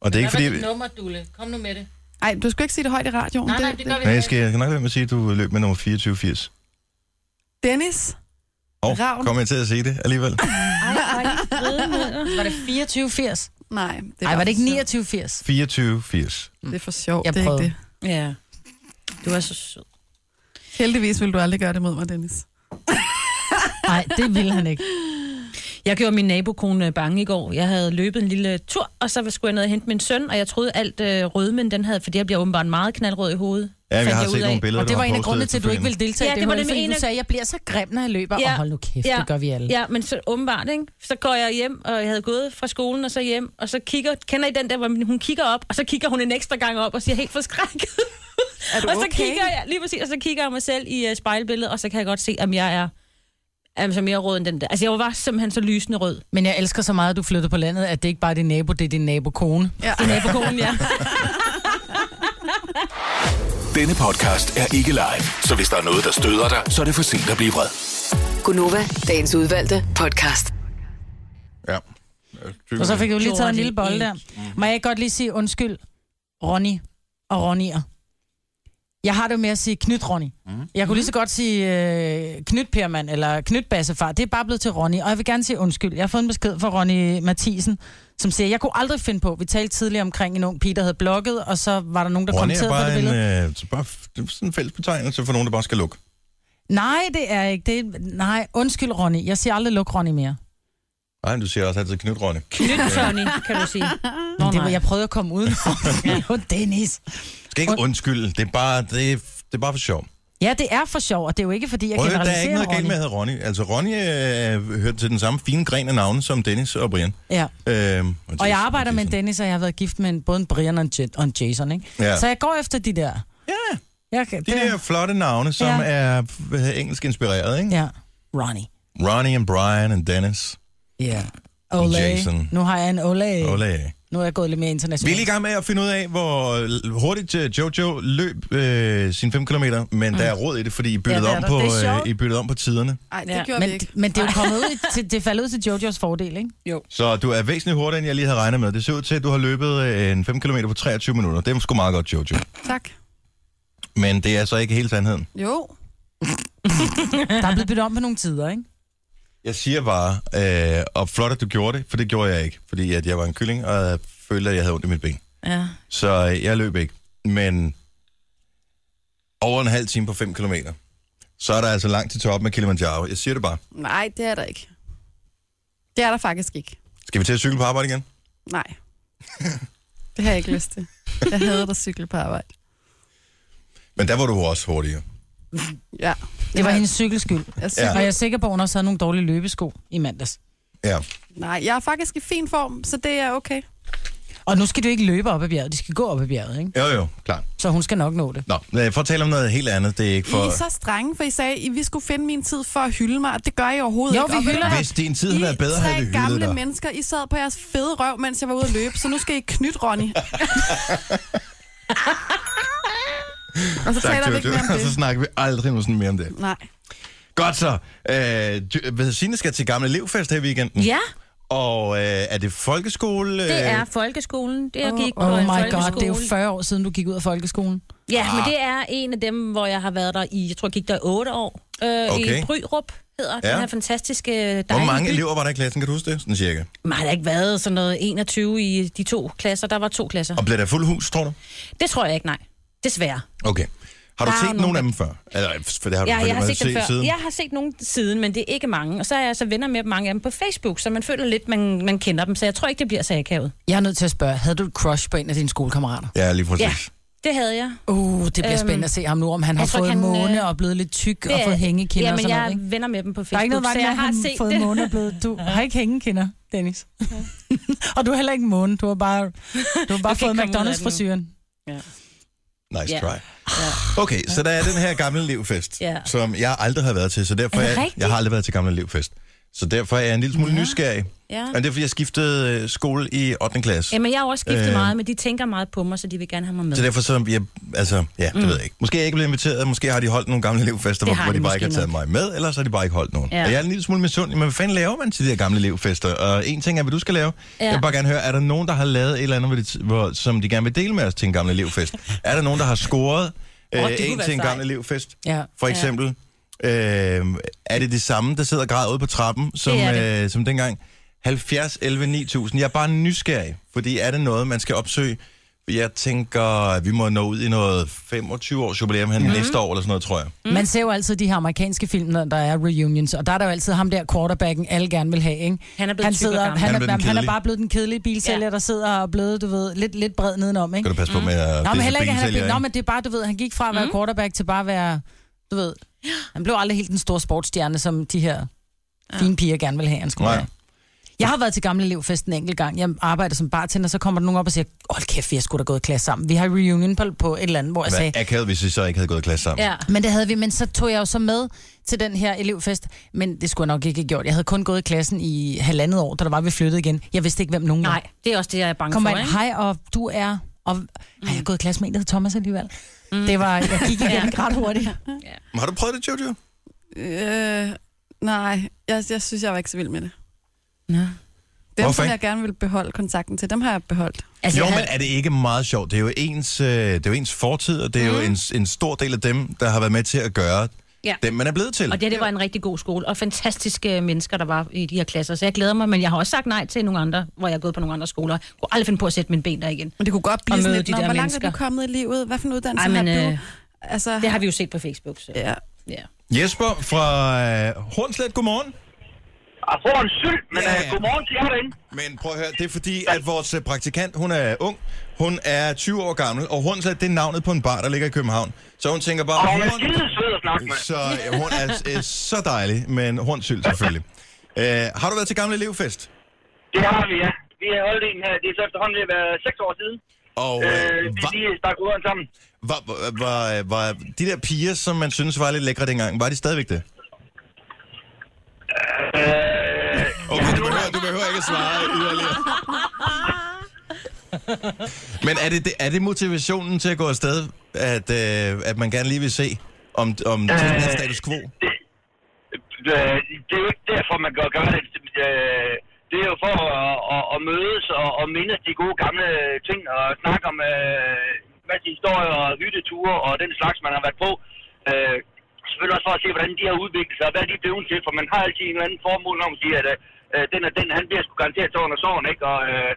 S3: Og det er ikke fordi...
S4: nummer, Dule? Kom nu med det. Nej,
S6: Ej, du skal ikke sige det højt i radioen.
S4: nej, det gør vi
S3: Nej, jeg
S4: ikke.
S3: skal, jeg skal nok lade med at sige, at du løb med nummer 2480.
S6: Dennis,
S3: Og
S6: Ravn.
S3: kom jeg til at sige det alligevel?
S5: Var det 2480?
S6: nej. Det
S5: Nej, var det ikke
S6: for
S5: 2980?
S3: 2480.
S6: sjov. Det er for sjov,
S5: Jeg
S6: det er
S5: prøvede.
S6: ikke det.
S4: Ja. Du er så sød.
S6: Heldigvis vil du aldrig gøre det mod mig, Dennis.
S5: Nej, det ville han ikke.
S4: Jeg gjorde min nabokone øh, bange i går. Jeg havde løbet en lille øh, tur, og så skulle jeg ned og hente min søn, og jeg troede alt øh, rødmen, den havde, fordi jeg bliver åbenbart meget knaldrød i hovedet.
S3: Ja,
S4: fandt
S3: jeg har
S4: jeg ud
S3: set
S4: af.
S3: nogle billeder,
S5: Og det
S3: du
S5: var
S3: har
S5: en af
S3: postet
S5: grundene til, at du ikke ville
S3: efterfølgende.
S5: deltage.
S4: Ja,
S5: i
S4: det var
S5: hul,
S4: det med
S5: fordi
S4: en
S5: du
S4: af-
S5: sagde, at jeg bliver så grim, når jeg løber.
S4: Ja.
S5: Og hold nu kæft, det gør vi alle.
S4: Ja, men så åbenbart, ikke? Så går jeg hjem, og jeg havde gået fra skolen og så hjem, og så kigger, kender I den der, hvor hun kigger op, og så kigger hun en ekstra gang op og siger helt forskrækket.
S6: Er du
S4: og så
S6: okay?
S4: kigger jeg, lige præcis, og så kigger jeg mig selv i uh, spejlbilledet, og så kan jeg godt se, om jeg er altså mere rød end den der. Altså, jeg var simpelthen så lysende rød.
S5: Men jeg elsker så meget, at du flytter på landet, at det ikke bare er din nabo, det er din nabokone.
S6: Ja.
S4: Din nabokone, ja.
S2: Denne podcast er ikke live, så hvis der er noget, der støder dig, så er det for sent at blive vred.
S1: Gunova, dagens udvalgte podcast.
S3: Ja.
S5: Og så fik du lige taget
S4: Gjorde
S5: en lille
S4: det
S5: bold der. Må jeg ikke godt lige sige undskyld, Ronny og Ronnier? Jeg har det jo med at sige knyt, Ronny.
S3: Mhm.
S5: Mm. Jeg kunne lige så godt sige øh, knyt, Perman, eller knyt, Bassefar. Det er bare blevet til Ronny, og jeg vil gerne sige undskyld. Jeg har fået en besked fra Ronny Mathisen, som siger, jeg kunne aldrig finde på, vi talte tidligere omkring en ung pige, der havde blogget, og så var der nogen, der
S3: Ronny er
S5: kommenterede på det
S3: bare en,
S5: billede.
S3: øh, så bare f- det er sådan en fælles betegnelse for nogen, der bare skal lukke.
S5: Nej, det er ikke. Det er, nej, undskyld, Ronny. Jeg siger aldrig luk Ronny mere.
S3: Nej, men du siger også altid knyt, Ronny.
S4: Nyt Ronny, kan du sige.
S5: Nå, det var,
S4: nej.
S5: jeg prøvede at komme udenom. jo, Dennis.
S3: Du skal ikke undskylde, det er bare, det er, det er bare for sjov.
S5: Ja, det er for sjov, og det er jo ikke, fordi jeg
S3: Prøv, der er
S5: generaliserer
S3: ikke noget galt
S5: Ronny.
S3: med at hedde Ronny. Altså, Ronny øh, hørte til den samme fine gren af navne som Dennis og Brian.
S5: Ja.
S3: Øh,
S5: Og jeg arbejder med en Dennis, og jeg har været gift med en, både en Brian og en, Jet, og en Jason, ikke?
S3: Ja.
S5: Så jeg går efter de der.
S3: Ja,
S5: Jeg, kan-
S3: de der flotte navne, som
S5: Ja.
S3: er hvad hedder, engelsk inspireret, ikke?
S5: Ja, Ronnie.
S3: Ronnie and Brian and Dennis.
S5: Ja. Ole.
S3: Jason.
S5: Nu har jeg en Ole. Altså,
S3: Ole.
S5: Nu er jeg gået lidt mere
S3: Vi er
S5: internationalt.
S3: lige i gang med at finde ud af, hvor hurtigt øh, Jojo løb øh, sine 5 km, men mm. der er råd i det, fordi I byttede, ja,
S5: Ja, det er
S3: om,
S5: der.
S3: på,
S5: Det er sjovt.
S3: øh, I byttede om på tiderne.
S6: Nej, det
S4: Ja,
S6: gjorde vi ikke.
S5: men, men det er jo kommet ud i- til, det falder ud til Jojos fordel, ikke?
S3: Så du er væsentligt hurtigere, end jeg lige havde regnet med. Det ser ud til, at du har løbet øh, en 5 km på 23 minutter. Det er sgu meget godt, Jojo.
S6: Tak.
S3: Men det er så ikke hele sandheden.
S6: Jo.
S5: Der er blevet byttet om på nogle tider, ikke?
S3: Jeg siger bare, øh, og flot, at du gjorde det, for det gjorde jeg ikke. Fordi at jeg var en kylling, og jeg følte, at jeg havde ondt i mit ben.
S4: Ja.
S3: Så øh, jeg løb ikke. Men over en halv time på 5 km, så er der altså langt til toppen af Kilimanjaro. Jeg siger det bare.
S6: Nej, det er der ikke. Det er der faktisk ikke.
S3: Skal vi til at cykle på arbejde igen?
S6: Nej. Det har jeg ikke lyst til. Jeg hader at cykle på arbejde.
S3: Men der var du også hurtigere.
S6: Ja.
S5: Det var hendes cykelskyld.
S6: Jeg
S5: Og
S6: cykler,
S5: jeg er sikker på, at hun også havde nogle dårlige løbesko i mandags.
S3: Ja.
S6: Nej, jeg er faktisk i fin form, så det er okay.
S5: Og nu skal du ikke løbe op ad bjerget, de skal gå op ad bjerget, ikke?
S3: Jo, jo, klart.
S5: Så hun skal nok nå det.
S3: Nå, lad- for at tale om noget helt andet, det er ikke
S6: For... I
S3: for...
S6: er så strenge, for I sagde, at vi skulle finde min tid for at hylde mig, og det gør I overhovedet
S5: Jo,
S6: ikke.
S5: vi
S6: Og ved du
S5: hylder
S6: hvad?
S3: Hvis din tid havde
S6: I
S3: været bedre, havde
S6: tre
S3: vi hyldet
S6: gamle
S3: dig.
S6: mennesker, I sad på jeres fede røv, mens jeg var ude at løbe, så nu skal I knytte, Ronny. og så taler vi ikke mere om
S3: Så
S6: det.
S3: snakker vi aldrig nogensinde mere om det.
S6: Nej.
S3: Godt så. Øh, du- hvad- Signe skal til gamle elevfest her i weekenden.
S4: Ja,
S3: Og øh, er det folkeskole?
S4: det
S3: øh,
S4: er folkeskolen. Det er oh, gik på
S5: Oh
S4: en
S5: my god,
S4: folkeskole.
S5: det er jo 40 år siden, du gik ud af folkeskolen.
S4: Ja, men det er en af dem, hvor jeg har været der i, jeg tror, jeg gik der i otte år. Øh,
S3: Okay.
S4: I Bryrup hedder ja.
S3: Ja.
S4: den her fantastiske dejlige
S3: Hvor mange
S4: by.
S3: elever var der i klassen, kan du huske det? Sådan cirka.
S4: Man har da ikke været sådan noget 21 i de to klasser. Der var to klasser.
S3: Og blev der fuld hus, tror du?
S4: Det tror jeg ikke, nej. Desværre.
S3: Okay. Har du
S4: Der er
S3: set
S4: nogen,
S3: nogen
S4: der-
S3: af dem før? Eller, for det har du
S4: Ja, jeg
S3: selvfølgelig
S4: har
S3: været
S4: set dem før.
S3: siden.
S4: Jeg har set nogen siden, men det er ikke mange. Og så er jeg så venner med mange af dem på Facebook, så man føler lidt, man, man kender dem. Så jeg tror ikke, det bliver så akavet.
S5: Jeg er nødt til at spørge, havde du et crush på en af dine skolekammerater?
S3: Ja, lige præcis.
S4: Ja, det havde jeg.
S5: Uh, det bliver
S4: Øhm,
S5: spændende at se ham nu, om han har
S4: jeg tror
S5: fået
S4: ikke, han, øh,
S5: måne og blevet lidt tyk og
S4: Det er-
S5: fået hængekinder
S4: ja,
S5: og
S4: men
S5: sådan
S4: jeg
S5: noget, ikke?
S4: er venner med dem på Facebook,
S5: Der er ikke noget vejen
S4: så
S5: med,
S4: jeg
S5: at
S4: har
S5: han
S4: set
S5: fået
S4: det.
S5: måne og blevet... Du har ikke hængekinder, Dennis. og du har heller ikke måne. Du har bare, du har
S4: Du
S5: bare
S4: kan ikke
S5: fået
S4: komme ud af den nu.
S5: McDonald's-frisyren.
S3: Nice
S4: Ja.
S3: try. Okay, så der er den her gamle elevfest,
S4: Ja.
S3: som jeg aldrig har været til, så derfor
S4: Er det
S3: jeg,
S4: rigtigt?
S3: jeg har aldrig været til gamle elevfest. Så derfor er jeg en lille smule nysgerrig.
S4: Ja.
S3: Men det er, fordi jeg skiftede øh, skole i 8. klasse.
S4: Jamen, jeg har jo også skiftet
S3: Øh.
S4: øh... meget, men de tænker meget på mig, så de vil gerne have mig med.
S3: Så derfor så, jeg, altså, ja, det mm. ved jeg ikke. Måske er jeg ikke blevet inviteret, måske har de holdt nogle gamle elevfester, hvor,
S4: har
S3: hvor
S4: de
S3: de bare
S4: måske
S3: ikke har taget mig med, eller så har de bare ikke holdt nogen. Ja.
S4: Ja.
S3: Og jeg er en lille smule misundelig, men hvad fanden laver man til de der gamle elevfester? Og en ting er, hvad du skal lave. Ja.
S4: Ja.
S3: Jeg vil bare gerne høre, er der nogen, der har lavet et eller andet, hvor de, hvor, som de gerne vil dele med os til en gammel elevfest? er der nogen, der har scoret øh,
S4: Åh,
S3: oh,
S4: det kunne
S3: en
S4: være
S3: til en
S4: sejt.
S3: gammel elevfest?
S5: Ja.
S3: For eksempel, øh, er det det samme, der sidder og græder ude på trappen, som,
S4: Det er
S3: det øh, som dengang? 70, 11, 9000. Jeg er bare nysgerrig, fordi er det noget, man skal opsøge? Jeg tænker, at vi må nå ud i noget 25-års jubilæum
S4: Mhm.
S3: her mm. næste år, eller sådan noget, tror jeg.
S5: Mm. Man ser jo altid de her amerikanske film, når der er reunions, og der er der jo altid ham der quarterbacken, alle gerne vil have, ikke?
S4: Han er blevet
S5: han,
S4: tyk og
S5: sidder,
S4: gammel.
S5: han,
S3: Han er
S5: er,
S3: blevet
S5: han,
S3: den
S5: han er
S3: kedelige.
S5: bare blevet den kedelige bilsælger, ja.
S4: Ja.
S5: der sidder og blevet, du ved, lidt, lidt bred nedenom, ikke? Mm.
S3: Skal du passe på med at
S5: Nå, men
S3: disse
S5: heller ikke, at han er
S3: bensælgere,
S5: blevet, Nå,
S3: ikke?
S5: men det er bare, du ved, han gik fra at være mm. quarterback til bare at være, du ved, han blev aldrig helt den store sportsstjerne, som de her fine piger gerne vil have, han skulle
S3: Nej.
S5: være. Jeg har været til gamle elevfest en enkelt gang. Jeg arbejder som bartender, så kommer der nogen op og siger, hold kæft, vi har sgu da gået i klasse sammen. Vi har reunion på, på et eller andet, hvor jeg sagde,
S3: Hvad akavet, hvis vi så ikke havde gået i klasse sammen?
S4: Ja.
S5: men det havde vi, men så tog jeg jo så med til den her elevfest, men det skulle jeg nok ikke have gjort. Jeg havde kun gået i klassen i halvandet år, da der var, vi flyttede igen. Jeg vidste ikke, hvem nogen var.
S4: Nej, det er også det, jeg er bange
S5: Kom
S4: for,
S5: ind,
S4: ikke? Mm.
S5: hej, og du er... Og, har jeg gået i klasse med en, der hed Thomas alligevel? Mm. Det var, jeg gik igen ja. ret hurtigt.
S3: Men Har du prøvet det, Jojo?
S6: Øh, nej, jeg, jeg synes, jeg var ikke så vild med det.
S5: Nå.
S6: Dem,
S3: Hvorfor
S6: som
S3: ikke?
S6: jeg gerne ville beholde kontakten til, dem har jeg beholdt.
S4: Altså,
S3: Jo,
S4: jeg
S3: men
S4: havde-
S3: er det ikke meget sjovt? Det er jo ens, øh, det er jo ens fortid, og det er mm. jo en, en stor del af dem, der har været med til at gøre
S4: Mhm. Ja.
S3: dem, man er blevet til.
S4: Og det, her, det var en rigtig god skole, og fantastiske mennesker, der var i de her klasser. Så jeg glæder mig, men jeg har også sagt nej til nogle andre, hvor jeg er gået på nogle andre skoler. Jeg kunne aldrig finde på at sætte mine ben der igen.
S6: Men det kunne godt blive
S4: Og
S6: sådan
S4: møde
S6: lidt,
S4: de
S6: Ligesom "Nå,
S4: der
S6: hvor langt er
S4: mennesker."
S6: du kommet i livet? Hvad for en uddannelse
S4: Ej, men,
S6: har du?
S4: øh,
S6: altså,
S4: Det har vi jo set på Facebook. Så.
S6: ja.
S4: Ja.
S3: Jesper fra øh, Hornslet, godmorgen.
S10: Jeg får en syld, Ah, men
S3: Ja,
S10: ja,
S3: ja.
S10: ja. Uh, godmorgen til jer derinde.
S3: Men prøv at høre, det er fordi, at vores øh, praktikant, hun er ung, hun er 20 år gammel, og Hornslet, det er navnet på en bar, der ligger i København. Så hun tænker
S10: Og
S3: bare,
S10: hun er
S3: Horn-
S10: skide sød at snakke med.
S3: Så øh, hun er øh, så dejlig, men hornsyld selvfølgelig. Øh, har du været til gamle elevfest?
S10: Det har vi, ja. Vi har holdt en her, det er så efterhånden ved at være seks år siden.
S3: Og
S10: Øh,
S3: øh,
S10: vi
S3: var,
S10: lige stak ruderen sammen.
S3: var, var, var, var de der piger, som man synes var lidt lækre dengang, var de stadigvæk det?
S10: Øh,
S3: Okay, du behøver, du behøver ikke at svare yderligere. Men er det, det- er det motivationen til at gå afsted, at, øh, at man gerne lige vil se, om, om øh,
S10: Øh.
S3: status quo?
S10: det, øh, det er jo ikke derfor, man gør, gør det. Øh, Det er jo for at, at, at mødes og at mindes de gode gamle ting og snakke om øh, masse historier og hytteture og den slags, man har været på. Øh, selvfølgelig også for at se, hvordan de har udviklet sig og hvad de er blevet til, for man har altid en eller anden formål, når man siger, at øh, den og den, han bliver sgu garanteret til under sorgen, ikke? Og, øh,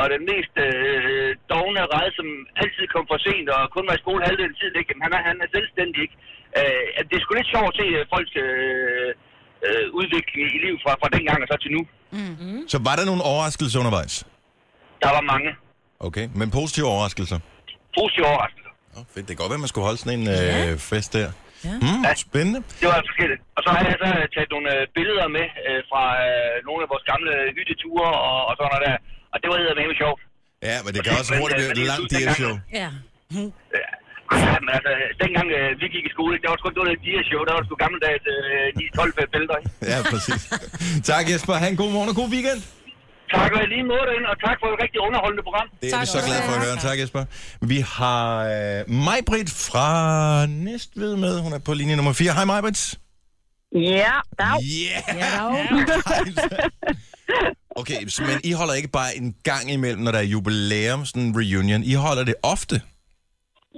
S10: og den mest øh, dogne red, som altid kom for sent og kun var i skole halvdelen af tiden, ikke? Jamen, han er, han er selvstændig, ikke? Øh, at det er sgu lidt sjovt at se øh, folks øh, øh, udvikling i livet fra, fra dengang og så til nu.
S3: Så var der nogle overraskelser undervejs?
S10: Der var mange
S3: Okay, men positive overraskelser?
S10: positive overraskelser.
S3: Nå, fedt. Det kan godt være, man skulle holde sådan en øh, fest der. Mm, spændende.
S10: Det var altså forskelligt. Og så har jeg så taget nogle øh, billeder med øh, fra øh, nogle af vores gamle hytteture og, og sådan noget der. Og det var eddermame sjovt.
S3: Ja, men det kan også hurtigt blive et langt DR-show.
S4: Ja.
S10: Ja. Ej, men altså, dengang øh, vi gik i skole, der var sgu ikke noget der show, der var sgu gammeldags øh, de 12 bælter. ikke?
S3: Ja, præcis. tak Jesper. Ha' en god morgen og god weekend.
S10: Tak og i lige måde derinde, og tak for et rigtig underholdende program.
S3: Det er vi så glade for at høre. Tak Jesper. Vi har øh, Majbrit fra Næstved med. Hun er på linje nummer 4. Hej Majbrit.
S8: Ja, dag.
S3: Yeah! okay, så, men I holder ikke bare en gang imellem, når der er jubilæum, sådan en reunion. I holder det ofte.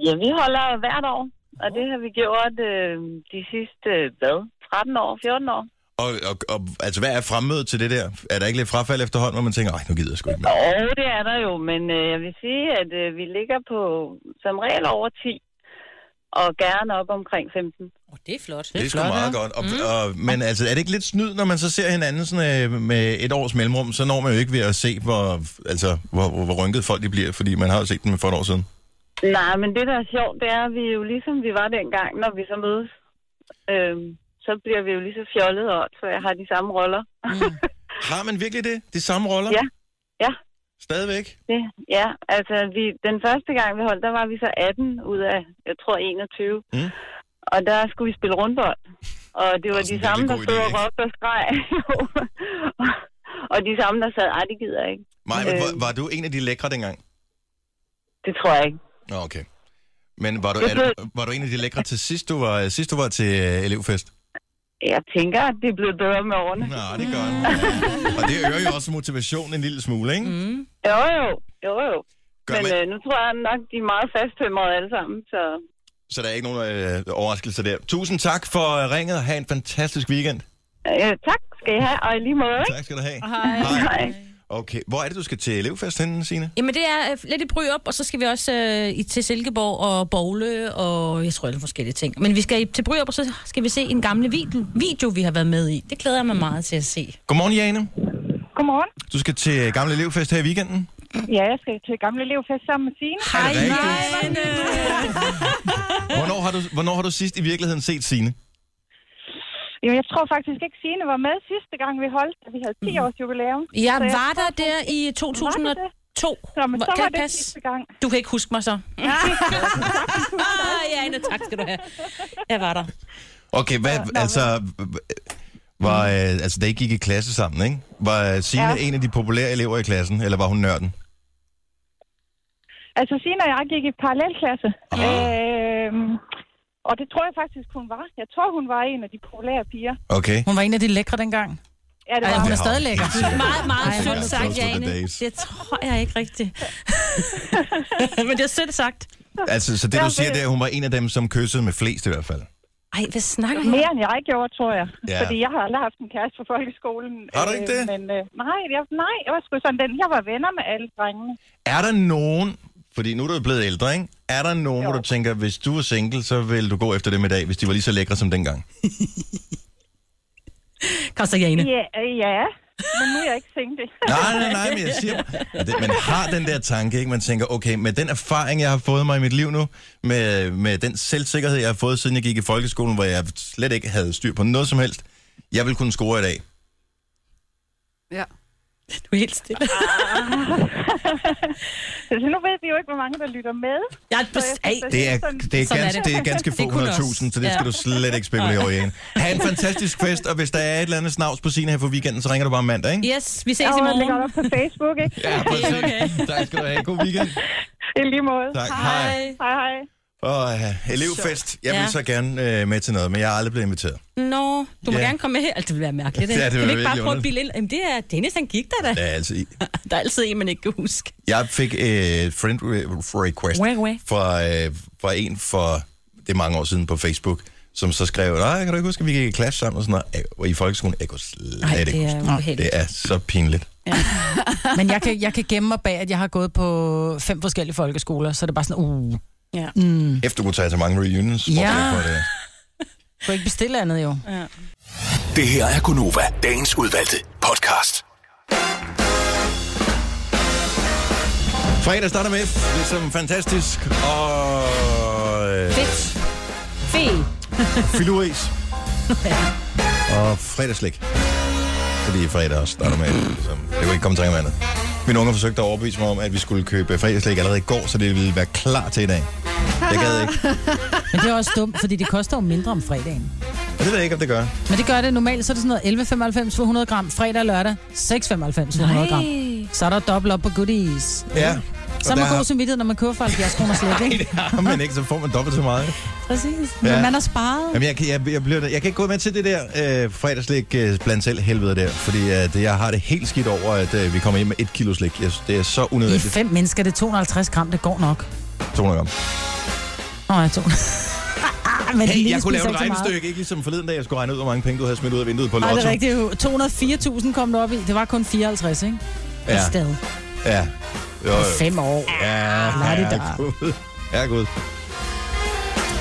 S8: Ja, vi holder hvert år, og det har vi gjort øh, de sidste, øh, hvad, 13 år, 14 år.
S3: Og, og, og altså, hvad er fremmødet til det der? Er der ikke lidt frafald efterhånden, hvor man tænker, nej, nu gider jeg sgu ikke mere.
S8: Og det er der jo, men øh, jeg vil sige, at øh, vi ligger på som regel over 10, og gerne op omkring 15.
S4: Oh, det er flot.
S3: Det er sgu meget godt. Og, mm. og, men altså, er det ikke lidt snyd, når man så ser hinanden sådan, øh, med et års mellemrum, så når man jo ikke ved at se, hvor, altså, hvor, hvor, hvor rynket folk de bliver, fordi man har jo set dem for et år siden.
S8: Nej, men det, der er sjovt, det er, at vi er jo ligesom vi var dengang, når vi så mødes. Øh, så bliver vi jo lige så fjollet og så jeg har de samme roller.
S3: Mm. Har man virkelig det? De samme roller?
S8: Ja. Ja.
S3: Stadigvæk?
S8: Det, ja, altså vi, den første gang, vi holdt, der var vi så 18 ud af, jeg tror, 21.
S3: Mm.
S8: Mm. Og der skulle vi spille rundbold. Og det var
S3: Også
S8: de
S3: en
S8: samme,
S3: virkelig
S8: der
S3: god
S8: stod
S3: idé,
S8: og
S3: ikke?
S8: råbte og skreg. og de samme, der sad, ej, det gider jeg ikke.
S3: Maja, men
S8: Øh.
S3: var, var du en af de lækre dengang?
S8: Det tror jeg ikke.
S3: Nå, okay. Men var du,
S8: Jeg
S3: er du,
S8: blev-
S3: var du en af de lækre til sidst, du var, sidst du var til øh, elevfest?
S8: Jeg tænker, at det er blevet bedre med årene.
S3: Nå, det gør jeg. Og det øger jo også motivationen en lille smule, ikke? Mm.
S8: Jo, jo, jo, jo.
S3: Gør
S8: Men
S3: man,
S8: øh, nu tror jeg nok, de er meget fasttømrede alle sammen, så
S3: Så der er ikke nogen øh, overraskelse der. Tusind tak for øh, ringet, og have en fantastisk weekend.
S8: øh, tak skal I have, og i lige måde, ikke?
S3: Tak skal du have.
S4: Hej.
S3: Hej.
S8: Hej.
S3: Okay, hvor er det, du skal til elevfest henne, Signe?
S4: Jamen, det er øh, lidt i bry op, og så skal vi også øh, i- til Silkeborg og Bogle og jeg tror, alle forskellige ting. Men vi skal i- til bry op, og så skal vi se en gamle video, video, vi har været med i. Det glæder jeg mig meget til at se.
S3: Godmorgen, Jane.
S8: Godmorgen.
S3: Du skal til øh, Gamle Elevfest her i weekenden.
S8: Ja, jeg skal til Gamle Elevfest sammen med Signe.
S3: Hej, Jane. Hvornår har, du, hvornår har du sidst i virkeligheden set Signe?
S8: Jamen, jeg tror faktisk ikke, Signe var med sidste gang, vi holdt, da vi havde 10 års jubilæum.
S4: Jeg
S8: Så jeg
S4: Mm. var
S8: tror
S4: der der i 2002.
S8: Nå, men
S4: Hvor-
S8: så
S4: kan
S8: var
S4: det
S8: det
S4: passe?
S8: sidste gang.
S4: Du kan ikke huske mig så. ah, ja, Anna, tak skal du have. Jeg var der.
S3: Okay, hvad, altså... Var, øh, altså, da I gik i klasse sammen, ikke? Var Signe ja.
S8: Ja.
S3: en af de populære elever i klassen, eller var hun nørden?
S8: Altså, Signe og jeg gik i parallelklasse.
S4: Ah.
S8: Øhm, og det tror jeg faktisk, hun var. Jeg tror, hun var en af de populære piger.
S3: Okay.
S5: Hun var en af de lækre dengang.
S8: Ja, det
S5: Ej,
S8: var
S5: hun
S8: hun.
S5: er
S3: har
S5: stadig
S3: hun
S5: lækker.
S3: helt sikkert.
S4: Meget, meget
S3: ja.
S4: sødt sagt,
S3: Close to the
S4: Jane.
S3: days.
S4: Det tror jeg ikke rigtigt. Men det er sødt sagt.
S3: Altså, så det du siger, det er, at hun var en af dem, som kyssede med flest i hvert fald.
S4: Ej, hvad snakker jeg?
S8: Mere end jeg gjorde, tror jeg.
S3: Ja.
S8: Ja. Fordi jeg har aldrig haft en kæreste fra folkeskolen.
S3: Har du ikke
S8: Øh,
S3: det?
S8: Men, øh, nej, jeg, nej, jeg var sgu sådan den. Jeg var venner med alle drengene.
S3: Er der nogen, fordi nu er du jo blevet ældre, ikke? Er der nogen, jo. hvor du tænker, hvis du er single, så vil du gå efter dem i dag, hvis de var lige så lækre som dengang?
S4: Kom så, Jane.
S8: Ja, øh, ja. men nu er jeg ikke single.
S3: Nej, nej, nej, men jeg siger... Men det- Man har den der tanke, ikke? Man tænker, okay, med den erfaring, jeg har fået mig i mit liv nu, med, med den selvsikkerhed, jeg har fået, siden jeg gik i folkeskolen, hvor jeg slet ikke havde styr på noget som helst, jeg vil kunne score i dag.
S6: Ja.
S4: Du er helt stille.
S8: Ah. Så nu ved vi jo ikke, hvor mange, der lytter med.
S4: Jeg er bes- Ej,
S3: Det er,
S8: Sådan-
S3: det er,
S4: Sådan er
S3: ganske,
S4: det.
S3: det er ganske få
S4: Det kunne også.
S3: hundredtusind, så det skal
S4: Ja.
S3: du slet ikke spekulere over, Jane. Ha' en fantastisk fest, og hvis der er et eller andet snavs på scenen her for weekenden, så ringer du bare mandag, ikke?
S4: Yes, vi ses i
S8: Og jeg lægger det
S4: morgen.
S8: op på Facebook, ikke?
S3: Ja, præcis. Okay. Tak skal du have. God weekend.
S8: I lige måde.
S3: Tak. Hej.
S8: Hej, hej.
S3: Og uh, elevfest. Jeg vil
S4: Ja.
S3: så gerne uh, med til noget, men jeg er aldrig blevet inviteret.
S4: Nå, du
S3: Ja.
S4: må gerne komme med her. Altså, det vil være mærkeligt, ikke?
S3: Ja, det
S4: kan
S3: vil være
S4: vi ikke bare
S3: virkelig
S4: prøve at bilde ind? Jamen, det er Dennis, han gik der da.
S3: Ja, altså, i-
S4: Der er altid en, man ikke kan huske.
S3: jeg fik et uh, friend re- request
S4: Wah, wah.
S3: fra, uh, fra en for det er mange år siden på Facebook, som så skrev, nej, kan du ikke huske, at vi gik i klasse sammen og sådan noget. Ej, i folkeskolen, jeg kunne slet
S4: Nej,
S3: ikke
S4: det
S3: huske
S4: er uheldigt.
S3: det er så pinligt.
S5: Men jeg kan, jeg kan gemme mig bag, at jeg har gået på fem forskellige folkeskoler, så det er bare sådan, uh, Mm. du
S4: Ja.
S3: Efter du kunne tage til mange reunions.
S5: Ja.
S3: hvorfor det er.
S5: kan ikke bestille andet jo.
S2: Det her er Gunova, dagens udvalgte podcast.
S3: Fredag starter med F, ligesom fantastisk. Og... øh,
S4: Fedt. Fedt.
S3: Filuris. og fredagslæg. Fordi fredag starter med, ligesom, det kan jo ikke komme til andet. Mine unger forsøgte at overbevise mig om, at vi skulle købe fredagslæg allerede i går, så det ville være klar til i dag. Jeg gad ikke.
S5: Men det er også dumt, fordi det koster jo mindre om fredagen.
S3: Og det ved jeg ikke, om det gør.
S5: Men det gør det normalt, så er det sådan noget 11,95 for 100 gram. Fredag og lørdag 6,95 for 100 gram. Så er der dobbelt op på goodies.
S3: Ja.
S5: Så er
S3: Og der
S5: man god
S3: har-
S5: samvittighed, når man køber for 70 kroner slet,
S3: Nej,
S5: ikke?
S3: det har man ikke, så får man dobbelt så meget.
S5: Præcis.
S3: Ja.
S5: Men man har sparet.
S3: Jamen, jeg, kan- jeg, jeg, bliver, jeg kan ikke gå med til det der øh, fredagslik øh, blandt selv helvede der, fordi at jeg har det helt skidt over, at øh, vi kommer hjem med et kilo slik. Jeg, det er så
S5: I er
S3: unødvendigt.
S5: fem mennesker, det er 250 gram, det går nok.
S3: 200 gram.
S5: Nå, jeg tog. Men
S3: Hey, jeg kunne lave et
S5: spiser ikke så meget.
S3: regnestykke, ikke ligesom forleden dag, jeg skulle regne ud, hvor mange penge du havde smidt ud af vinduet på
S5: Nej,
S3: Lotto.
S5: det er rigtigt. 204.000 kom du op i. Det var kun 54, ikke?
S3: Ja,
S5: I stedet.
S3: ja. Jo, jo.
S5: Fem år.
S3: Ja,
S5: Nej, det er
S3: ja, gud. Ja, gud.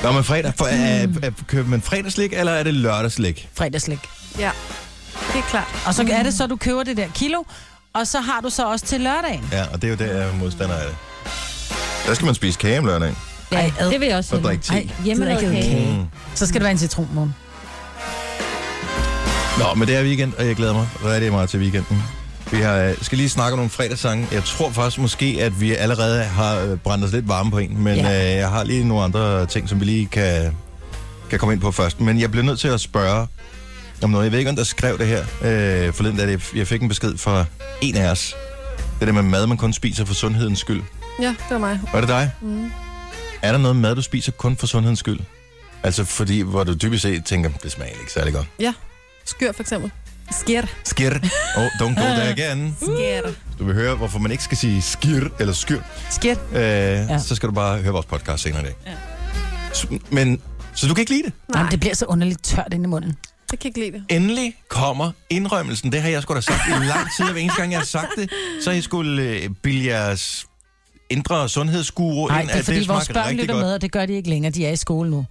S3: Nå, men fredag, for, er, er, køber man fredagslik, eller er det lørdagslik?
S5: Fredagslæg.
S6: Ja, det er klart.
S5: Og så er det så, du køber det der kilo, og så har du så også til lørdagen.
S3: Ja, og det er jo der, jeg er modstander af det. Der skal man spise kage om lørdagen,
S4: Ja, det vil jeg også
S3: og
S4: hellere.
S3: drikke te.
S4: Hjemmelavet
S5: Drikke
S4: kage.
S5: kage. Mm. Så skal det være en citronmåne.
S3: Nå, men det er weekend, og jeg glæder mig rigtig meget til weekenden. Vi har, øh, skal lige snakke om nogle fredagssange. Jeg tror faktisk måske, at vi allerede har øh, brændt os lidt varme på en, men
S5: Ja.
S3: ja. øh, jeg har lige nogle andre ting, som vi lige kan, kan komme ind på først. Men jeg bliver nødt til at spørge om noget. Jeg ved ikke, om der skrev det her øh, forleden, da det- jeg fik en besked fra en af os. Det der med mad, man kun spiser for sundhedens skyld.
S6: Ja, det var mig.
S3: Var det dig? Mm. Er der noget mad, du spiser kun for sundhedens skyld? Altså fordi, hvor du dybest set tænker, det smager ikke særlig godt.
S6: Skyr for eksempel. Skir.
S3: Skir. Oh, don't go there again.
S6: Skir.
S3: Du vil høre, hvorfor man ikke skal sige skir eller skyr.
S5: Skidt.
S3: Øh, ja. Så skal du bare høre vores podcast senere i dag. Ja. Så, men, så du kan ikke lide det?
S5: Nej. Jamen, det bliver så underligt tørt inde i munden.
S6: Det kan jeg ikke lide det.
S3: Endelig kommer indrømmelsen. Det har jeg sgu da sagt i lang tid, og hver eneste gang, jeg har sagt det, så har I skulle øh, bilde jeres indre sundhedsguru
S5: Nej,
S3: ind,
S5: det er
S3: at
S5: fordi
S3: det
S5: vores
S3: smager
S5: børn
S3: rigtig
S5: lytter
S3: godt.
S5: med, og det gør de ikke længere. De er i skole nu.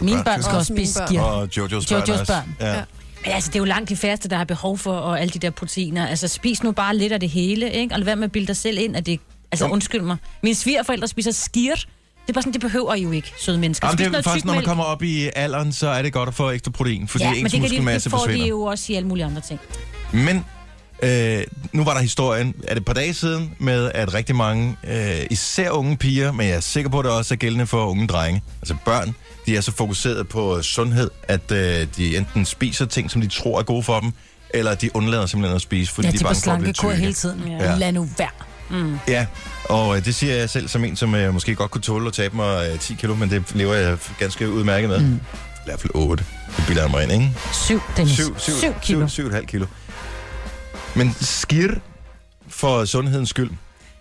S5: Mine
S3: Børn.
S5: børn skal
S6: Også
S5: også
S6: mine
S5: spise
S6: børn.
S5: skir.
S3: Og Jojos børn
S5: Jojos
S3: også.
S5: børn.
S3: Ja.
S6: Ja.
S4: Men altså, det er jo langt de færreste, der har behov for og alle de der proteiner. Altså, spis nu bare lidt af det hele, ikke? Og lad være med at bilde dig selv ind, at det... Altså,
S3: Jo.
S4: undskyld mig. Mine svigerforældre spiser skir. Det er bare sådan, det behøver I jo ikke, søde mennesker.
S3: Jamen,
S4: Spis
S3: det er
S4: noget
S3: faktisk,
S4: tyk
S3: når man
S4: mælk.
S3: kommer op i alderen, så er det godt at få ekstra protein, fordi
S4: Ja,
S3: ja,
S4: men det,
S3: ens
S4: kan de,
S3: muskelmasse
S4: det får
S3: forsvinder.
S4: de jo også i alle mulige andre ting.
S3: Men øh, nu var der historien, er det et par dage siden, med at rigtig mange, øh, især unge piger, men jeg er sikker på, at det også er gældende for unge drenge, altså børn, de er så fokuseret på sundhed, at øh, de enten spiser ting, som de tror er gode for dem, eller de undlader simpelthen at spise, fordi
S5: Ja,
S3: de
S5: de
S3: er
S5: er på
S3: bange for at blive
S5: slankekur
S3: tykke.
S5: hele tiden.
S3: Ja.
S5: Ja. Lad nu være.
S6: Mm.
S3: Ja, og øh, det siger jeg selv som en, som øh, måske godt kunne tåle at tabe mig øh, 10 kilo, men det lever jeg ganske udmærket med. Mm. I hvert fald 8. Det bilder jeg mig ind, ikke?
S5: Syv, Dennis.
S3: 7, 7,
S5: Syv kilo.
S3: 7, 7,5 kilo. Men skir for sundhedens skyld.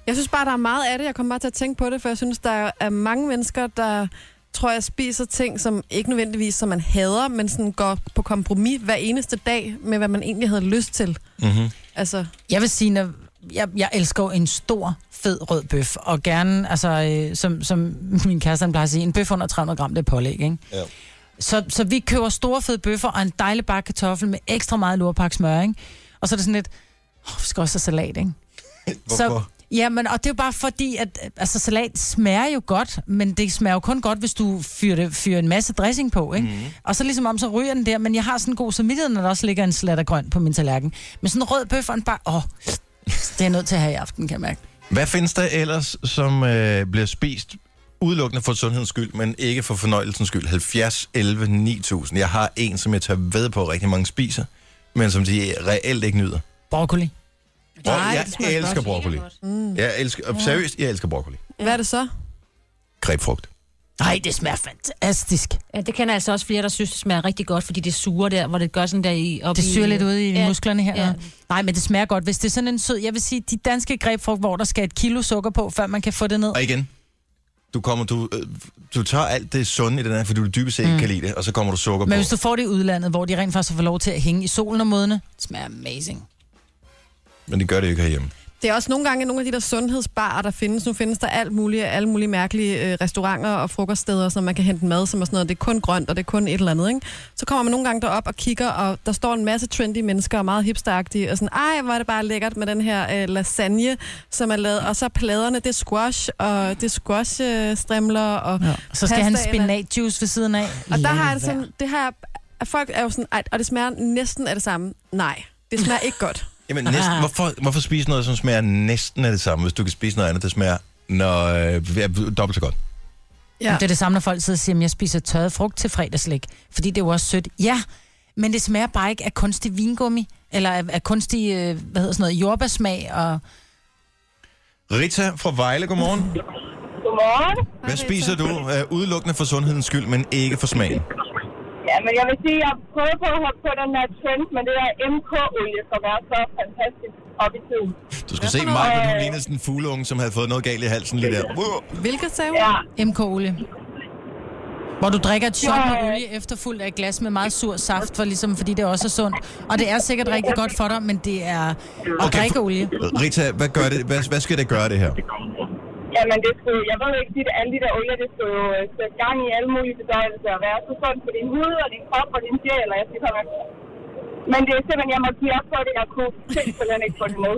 S6: Jeg synes bare, der er meget af det. Jeg kommer bare til at tænke på det, for jeg synes, der er mange mennesker, der tror jeg spiser ting, som ikke nødvendigvis, som man hader, men sådan går på kompromis hver eneste dag med, hvad man egentlig havde lyst til.
S3: Mm-hmm.
S6: Altså,
S5: Jeg vil sige, når jeg, jeg elsker jo en stor, fed rød bøf, og gerne, altså, øh, som, som min kæreste han plejer at sige, en bøf under 300 gram, det er pålæg, ikke?
S3: Ja.
S5: Så, så vi køber store, fede bøffer og en dejlig bakke kartoffel med ekstra meget lurpak smør, ikke? Og så er det sådan lidt, åh, vi skal også have salat, ikke? Så, jamen, og det er jo bare fordi, at øh, altså, salat smager jo godt, men det smager jo kun godt, hvis du fyrer, det, fyrer en masse dressing på, ikke? Mm. Og så ligesom om, så ryger den der, men jeg har sådan en god samvittighed, når der også ligger en slat af grønt på min tallerken. Men sådan en rød bøf og en bare, åh, det er jeg nødt til at have i aften, kan jeg mærke.
S3: Hvad findes der ellers, som øh, bliver spist udelukkende for sundhedens skyld, men ikke for fornøjelsens skyld? 70, 11, 9000. Jeg har en, som jeg tager ved på, at rigtig mange spiser, men som de reelt ikke nyder.
S5: Broccoli.
S3: Bro,
S6: Nej,
S3: jeg
S6: det smager
S3: elsker broccoli.
S6: mm.
S3: Jeg elsker, og seriøst, jeg elsker broccoli.
S6: hvad er det så?
S3: Grebfrugt.
S5: Nej, det smager fantastisk.
S4: Ja, det kender altså også flere, der synes, det smager rigtig godt, fordi det suger der, hvor det gør sådan der i... Op
S5: Det syrer
S4: i, øh,
S5: lidt ud i
S4: Ja.
S5: ja. musklerne her.
S4: Ja.
S5: Ja. Nej, men det smager godt. Hvis det er sådan en sød... Jeg vil sige, de danske grebfrugt, hvor der skal et kilo sukker på, før man kan få det ned.
S3: Og igen, du, kommer, du, øh, du tager alt det sunde i den her, fordi du dybest set ikke kan lide det, og så kommer du sukker
S5: Men
S3: på.
S5: hvis du får det i udlandet, hvor de rent faktisk får lov til at hænge i solen om månederne, det smager amazing.
S3: Men det gør det jo ikke herhjemme.
S6: Det er også nogle gange nogle af de der sundhedsbarer, der findes. Nu findes der alt mulige, alle mulige mærkelige øh, restauranter og frokoststeder, som man kan hente mad, som er sådan noget, det er kun grønt, og det er kun et eller andet, ikke? Så kommer man nogle gange derop og kigger, og der står en masse trendy mennesker og meget hipsteragtige, og sådan, ej, hvor er det bare lækkert med den her øh, lasagne, som er lavet, og så er pladerne, det er squash, og det er squashstrimler, øh, strimler, og ja.
S5: Så skal han
S6: Pastaen er-
S5: spinatjuice ved siden af.
S6: Og der har jeg det sådan, det her, at folk er jo sådan, ej, og det smager næsten af det samme. Nej, det smager ikke godt.
S3: Jamen, næsten, hvorfor, hvorfor spise noget, som smager næsten af det samme, hvis du kan spise noget andet, der smager når, øh, ja, dobbelt så godt?
S5: Ja. Det er det samme, når folk sidder og siger, at jeg spiser tørret frugt til fredagslæg, fordi det er jo også sødt. Ja, men det smager bare ikke af kunstig vingummi, eller af, af kunstig, øh, hvad hedder sådan noget, jordbærsmag. Og...
S3: Rita fra Vejle, godmorgen.
S8: Godmorgen.
S3: Hvad spiser du? Uh, udelukkende for sundhedens skyld, men ikke for smagen.
S8: Ja, men jeg vil sige, at jeg prøvede på at hoppe på den her trend, men det der MK-olie, som er så fantastisk op i tiden.
S3: Du skal se mig, hvor du ligner sådan en fugleunge, som havde fået noget galt i halsen lige der. Wow.
S6: Hvilket sagde hun?
S8: Ja,
S5: MK-olie. Hvor du drikker et shot
S8: Ja.
S5: med olie efterfuldt af et glas med meget sur saft, for ligesom, fordi det også er sundt. Og det er sikkert rigtig godt for dig, men det er at okay. drikke olie.
S3: Rita, hvad, gør det? Hvad, hvad skal det gøre det her?
S8: jamen det skulle, jeg ved ikke sige, at alle de der olier, det skulle øh, sætte gang i alle mulige bedøjelser og være så sundt for din hud og din krop og din sjæl, og jeg skal komme efter. Men det er simpelthen, jeg må give op for det, jeg kunne simpelthen ikke få det med.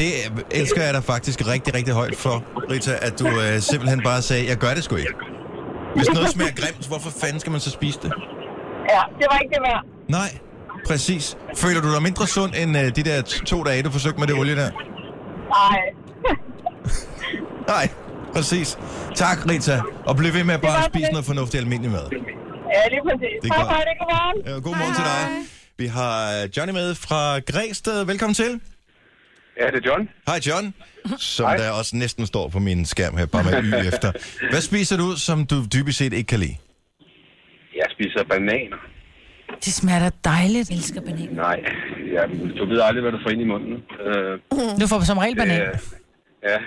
S3: Det øh, elsker jeg dig faktisk rigtig, rigtig højt for, Rita, at du øh, simpelthen bare sagde, jeg gør det sgu ikke. Hvis noget smager grimt, hvorfor fanden skal man så spise det?
S8: ja, det var ikke det værd.
S3: Nej, præcis. Føler du dig mindre sund end øh, de der t- to dage, du forsøgte med det olie der?
S8: Nej.
S3: Nej, præcis. Tak, Rita. Og bliv ved med at bare
S8: var
S3: spise
S8: det.
S3: noget fornuftigt almindelig mad.
S8: ja, lige præcis.
S3: Det er
S8: Tak
S3: godt.
S8: for det, godmorgen.
S3: Øh, God morgen til dig. Vi har øh, Johnny med fra Græsted. Velkommen til.
S10: Ja, det er John.
S3: Hej John, som Hej. der også næsten står på min skærm her, bare med y efter. Hvad spiser du, som du dybest set ikke kan lide?
S10: Jeg spiser bananer.
S5: Det smager da dejligt.
S4: Jeg elsker banan.
S10: Nej, ja, du ved aldrig, hvad du får ind i munden. Øh,
S5: Du får som regel banan.
S10: øh, ja,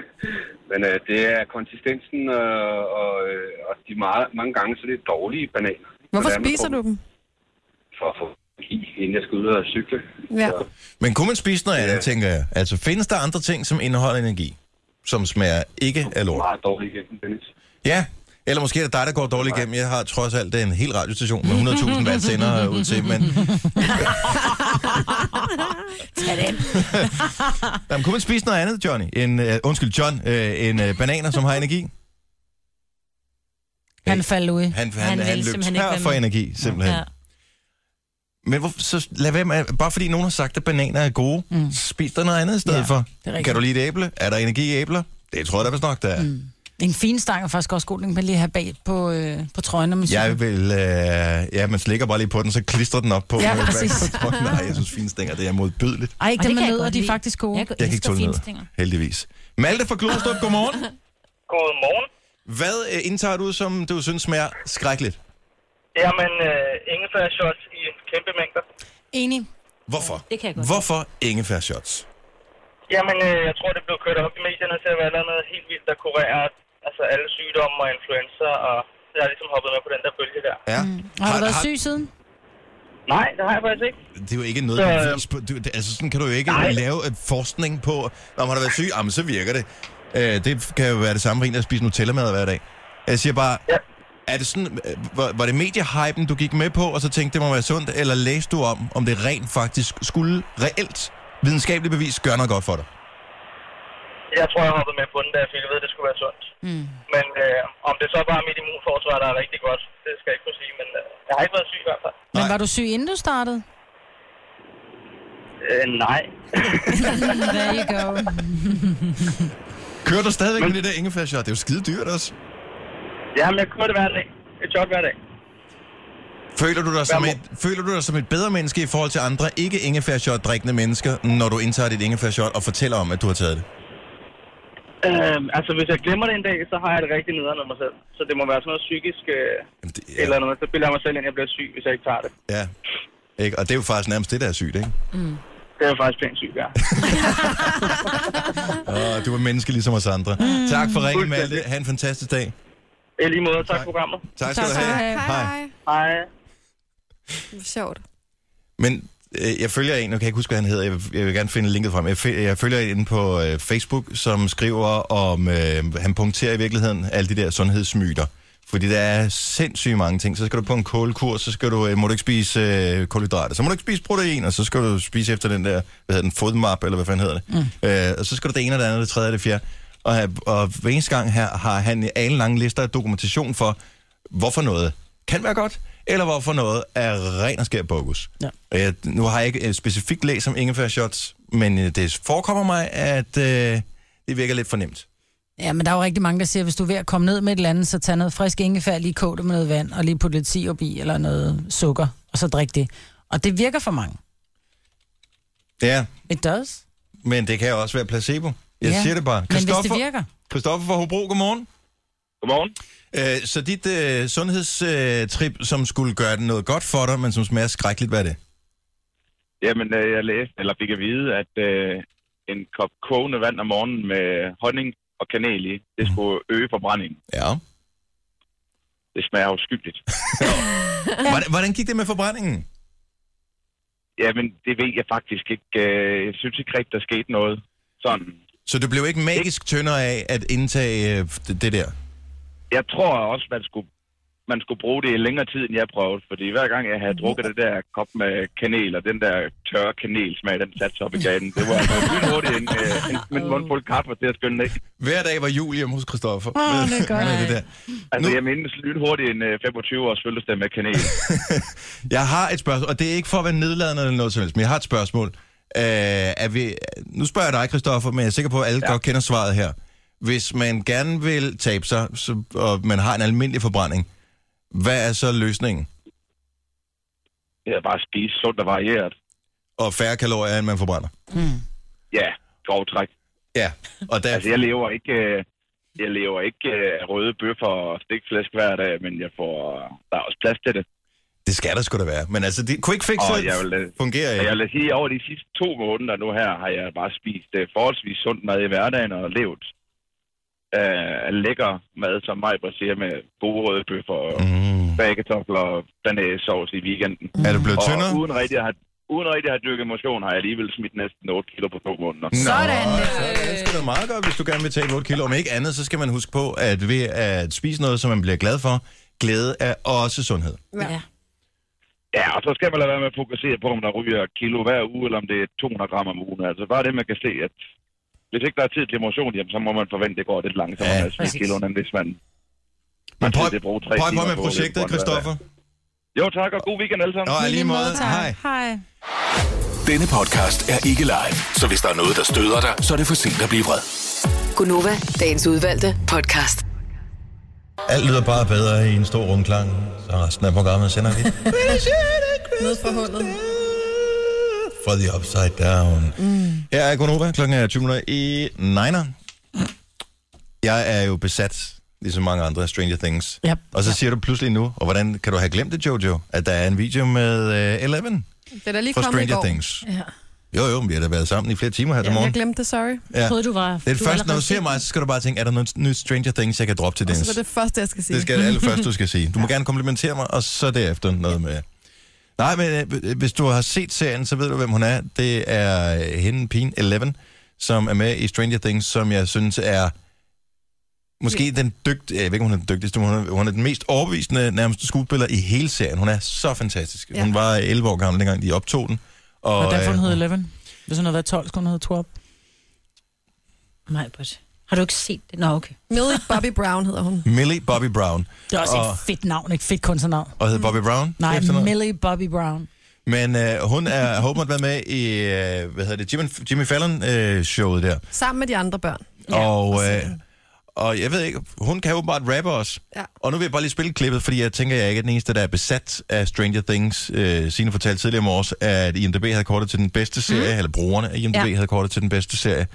S10: men øh, det er konsistensen øh, og, øh, og de meget, mange gange så er det dårlige bananer.
S6: Hvorfor
S10: Hvordan man
S6: spiser du
S10: får-
S6: dem?
S10: For at få i, inden jeg skal ud og cykle.
S6: Ja.
S10: Så-
S3: Men kunne man spise noget andet, tænker jeg? Altså, findes der andre ting, som indeholder energi, som smager ikke af lort?
S10: meget dårligt igennem, Dennis.
S3: Ja, eller måske er det dig, der går dårligt igennem. Jeg har trods alt en hel radiostation med 100.000 watt sender øh, ud til, men... Jamen, kunne man spise noget andet, Johnny? En, uh, undskyld, John. Uh, en uh, bananer, som har energi?
S5: Han faldt ud.
S3: Han, han,
S4: Han
S3: han,
S4: vil
S3: han løb
S4: simpelthen ikke
S3: tør
S4: være
S3: for
S4: med.
S3: energi, simpelthen. Ja.
S4: Ja.
S3: Men hvorfor, så lad være med, bare fordi nogen har sagt, at bananer er gode, mm. spis der noget andet i stedet ja,
S5: Ja,
S3: for.
S5: er rigtigt.
S3: Kan du lide et æble? Er der energi i æbler? Det tror jeg da vist nok, der er. Mm.
S5: En fin stang er faktisk også god, den kan man lige have bag på, øh, på trøjen, når man cykler.
S3: Jeg vil, øh, ja, man slikker bare lige på den, så klistrer den op på.
S5: Ja,
S3: øh, bag på
S5: præcis.
S3: trøjen. Nej, jeg synes, fine stænger, det er modbydeligt.
S5: Ej,
S4: det
S5: dem
S4: kan
S5: med
S4: jeg
S5: nødder,
S4: godt
S5: de er
S4: lide.
S5: faktisk gode.
S4: Jeg,
S3: Jeg kan ikke
S4: elsker
S3: tåle
S4: fine
S3: noget,
S4: stinger.
S3: heldigvis. Malte fra Klostrup, godmorgen.
S10: Godmorgen.
S3: Hvad øh, indtager du, som du synes smager skrækkeligt?
S10: Jamen, øh, ingefærshots i kæmpe mængder.
S5: Enig.
S3: Hvorfor?
S4: Det kan jeg godt.
S3: Hvorfor ingefær shots?
S10: Jamen, øh, jeg tror, det blev kørt op i medierne til at være noget andet helt vildt, der kurerer altså alle sygdomme og influenza, og jeg har ligesom hoppet med på den der bølge der.
S3: Ja. Mm.
S5: Og har du været syg siden?
S10: Nej, det har jeg faktisk ikke.
S3: Det er jo ikke noget,
S10: Så-
S3: der vis på. Du, det, altså, sådan kan du jo ikke Nej. lave et forskning på, når man har været syg, jamen, så virker det. Øh, det kan jo være det samme for en, der spiser Nutella-mad hver dag. Jeg siger bare, ja.
S10: Ja.
S3: er det sådan, øh, var, var det mediehypen, du gik med på, og så tænkte, det må være sundt, eller læste du om, om det rent faktisk skulle reelt videnskabeligt bevis gøre noget godt for dig?
S10: Jeg tror, jeg hoppede med på den, da jeg fik at vide, at det skulle være sundt. Mm. Men øh, om det så bare er mit immunforsvar, der er rigtig godt, det skal jeg ikke kunne sige, men øh, jeg har ikke været syg i hvert fald.
S5: Men
S3: Nej.
S5: var du syg, inden du startede?
S10: Øh, nej.
S5: There you go.
S3: Kører du stadigvæk med det der ingefær-shot? Det er jo skide dyrt også.
S10: Jamen, jeg kører det hver dag. Et shot hver dag.
S3: Føler du, dig som
S10: må-
S3: et, føler du dig som et bedre menneske i forhold til andre ikke ingefær drikkende mennesker, når du indtager dit ingefær og fortæller om, at du har taget det?
S10: Øhm, altså, hvis jeg glemmer det en dag, så har jeg det rigtig nederen af mig selv. Så det må være sådan noget psykisk øh,
S3: Jamen, det
S10: ja. eller noget. Så bilder jeg mig selv ind, at jeg bliver syg, hvis jeg ikke tager det.
S3: Ja. Ikke? Og det er jo faktisk nærmest det, der er sygt, ikke?
S10: Det er jeg faktisk pænt syg, ja.
S3: Og du er menneske ligesom os andre. Mm. Tak for ringen, Malte. Ha' en fantastisk dag.
S10: I lige måde, tak, tak. programmet.
S3: Tak skal du have.
S6: Hej, hej.
S10: Hej.
S6: Hvor Sjovt.
S3: Men øh, jeg følger en, nu kan jeg ikke huske, hvad han hedder, jeg vil, jeg vil gerne finde linket frem. Jeg, fe- jeg følger en inde på øh, Facebook, som skriver om, øh, han punkterer i virkeligheden alle de der sundhedsmyter. Fordi der er sindssygt mange ting. Så skal du på en kålkur, så skal du, øh, må du ikke spise øh, kulhydrater, så må du ikke spise protein, og så skal du spise efter den der, hvad hedder den, fodmap, eller hvad fanden hedder det. Mm. Øh, og så skal du det ene, og det andet, og det tredje, og det fjerde. Og, og hver eneste gang her har han en lang liste af dokumentation for, hvorfor noget kan være godt, eller hvorfor noget er ren og skær bogus.
S5: Ja.
S3: Øh, nu har jeg ikke øh, specifikt læst om ingefær shots, men øh, det forekommer mig, at øh, det virker lidt for nemt.
S5: Ja, men der er jo rigtig mange, der siger, at hvis du er ved at komme ned med et eller andet, så tag noget frisk ingefær, lige kog det med noget vand, og lige put lidt sirup i, eller noget sukker, og så drik det. Og det virker for mange.
S3: Ja,
S5: It does.
S3: men det kan jo også være placebo. Jeg
S5: Ja,
S3: siger det bare.
S5: Men hvis det
S3: Christoffer-
S5: virker.
S3: Christoffer fra Hobro, godmorgen.
S11: Godmorgen.
S3: Øh, så dit øh, sundhedstrip, øh, som skulle gøre det noget godt for dig, men som smager skrækkeligt, hvad er det?
S11: Jamen, øh, jeg læste, eller fik at vide, at øh, en kop kogende vand om morgenen med honning og kanel i, det skulle øge forbrændingen.
S3: Ja.
S11: Det smager uskyldigt.
S3: Hvordan, hvordan gik det med forbrændingen?
S11: Jamen, det ved jeg faktisk ikke. Øh, jeg synes ikke rigtigt, der skete noget. Sådan.
S3: Så du blev ikke magisk tyndere af at indtage øh, det, det der?
S11: Jeg tror også, man skulle, man skulle bruge det i længere tid, end jeg prøvede. Fordi hver gang jeg havde drukket det der kop med kanel, og den der tørre kanelsmag, den satte sig op i gaden. Det var øh, lynhurtigt en, øh, en, en mundfuld kaffe til at skynde ned.
S3: Hver dag var jul hjemme hos Christoffer.
S5: Åh, det er godt.
S3: Med det der.
S11: Altså,
S3: Nu-
S11: nu... jeg mindes lynhurtigt en øh, 25-års fødselsdag med kanel.
S3: Jeg har et spørgsmål, og det er ikke for at være nedladende eller noget som helst, men jeg har et spørgsmål. Øh, er vi, nu spørger jeg dig, Christoffer, men jeg er sikker på, at alle ja. godt kender svaret her. Hvis man gerne vil tabe sig, så, og man har en almindelig forbrænding, hvad er så løsningen?
S11: Det er bare at spise sundt og varieret.
S3: Og færre kalorier, end man forbrænder.
S5: Hmm.
S11: Ja, grov træk.
S3: Ja, og der,
S11: Altså, jeg lever ikke... Øh, jeg lever ikke øh, af røde bøffer og stikflæsk hver dag, men jeg får... øh, Der er også plads til det.
S3: det skal der sgu da være. Men altså, det, quick fix
S11: Og
S3: oh,
S11: jeg vil, øh,
S3: fungerer
S11: Og
S3: ikke.
S11: jeg vil sige, at over de sidste to måneder nu her, har jeg bare spist øh, forholdsvis sund mad i hverdagen og levet øh, af lækker mad, som mig siger, med gode røde bøffer og
S3: Mm.
S11: bagekartofler og banæsovs i weekenden.
S3: Er det blevet
S11: Og
S3: tyndere?
S11: uden rigtig at have, uden rigtig at have dyrket motion, har jeg alligevel smidt næsten 8 kilo på to måneder.
S5: Sådan.
S3: Nå, det er sgu da meget godt, hvis du gerne vil tage 8 kilo. Om ikke andet, så skal man huske på, at ved at spise noget, som man bliver glad for, glæde er også sundhed.
S4: Ja.
S11: Ja, og så skal man lade være med at fokusere på, om der ryger et kilo hver uge, eller om det er 200 gram om ugen. Altså bare det, man kan se, at hvis ikke der er tid til emotion, jamen, så må man forvente, at det går lidt langsommere
S3: Ja,
S11: ja, med at spise
S5: præcis.
S11: kiloen, end hvis man...
S3: Men
S11: man
S3: prøv,
S11: tid til at bruge tre
S3: prøv,
S11: timer
S3: prøv med
S11: på at løbe
S3: projektet,
S11: rundt hver dag.
S3: Christoffer.
S11: Jo, tak, og god weekend alle sammen.
S3: Nå, i lige måde. Hej.
S5: Hej.
S2: Denne podcast er ikke live, så hvis der er noget, der støder dig, så er det for sent at blive vred.
S12: Gunova, dagens udvalgte podcast.
S3: Alt lyder bare bedre i en stor rumklang, så resten af programmet sender vi.
S6: Nede fra hullet.
S3: For the upside down. Mm. Her er Gunova, klokken er 20 minutter i 9'er. Jeg er jo besat, ligesom mange andre af Stranger Things.
S5: Yep.
S3: Og så siger du pludselig nu, og hvordan kan du have glemt det, Jojo, at der er en video med øh, Eleven
S6: Det er da lige
S3: fra
S6: kommet i
S3: Stranger
S6: går.
S3: Things.
S4: ja.
S3: Jo, jo, men vi har da været sammen i flere timer her til
S6: Ja, jeg
S3: morgen.
S6: glemte det, sorry.
S3: Ja.
S4: Troede, du var...
S3: Det er det første,
S4: du
S3: når
S4: allerede
S3: du ser
S4: set
S3: mig, så skal du bare tænke, er der noget nyt Stranger Things, jeg kan droppe til
S6: Og
S3: Dennis?
S6: så var det første, jeg skal sige.
S3: Det skal det allerførste, du skal sige. Du må gerne komplimentere mig, og så derefter noget med... Nej, men øh, hvis du har set serien, så ved du, hvem hun er. Det er øh, hende, pigen 11, som er med i Stranger Things, som jeg synes er... Måske den dygt, jeg ved ikke, om hun er den dygtigste, men hun er, hun er den mest overbevisende nærmest skuespiller i hele serien. Hun er så fantastisk. Ja.
S6: Ja.
S3: Hun var 11 år gammel, dengang de optog den.
S5: Og, og derfor
S3: øh,
S5: hun hed 11. Hvis hun havde været 12, skulle hun hedde 12.
S4: Mig, but. Har du ikke set det? Nå, okay.
S6: Millie Bobby Brown hedder hun.
S3: Millie Bobby Brown.
S5: Det er også og...
S3: Og-
S5: et fedt navn, ikke fedt kunstnernavn.
S3: Og hed Bobby Brown?
S5: Nej,
S3: efter noget?
S5: Millie Bobby Brown.
S3: Men øh, hun er, har åbenbart været med i, øh, hvad hedder det, Jimmy, Jimmy Fallon-showet der.
S6: Sammen med de andre børn.
S3: Ja, og, øh, og jeg ved ikke, hun kan åbenbart rappe også.
S6: Ja.
S3: Og nu vil jeg bare lige spille klippet, fordi jeg tænker, jeg er ikke er den eneste, der er besat af Stranger Things. Øh, Signe fortalte tidligere om års, at IMDb havde kortet til den bedste serie, mm. eller brugerne af IMDb ja.
S6: Ja.
S3: havde kortet til den bedste serie.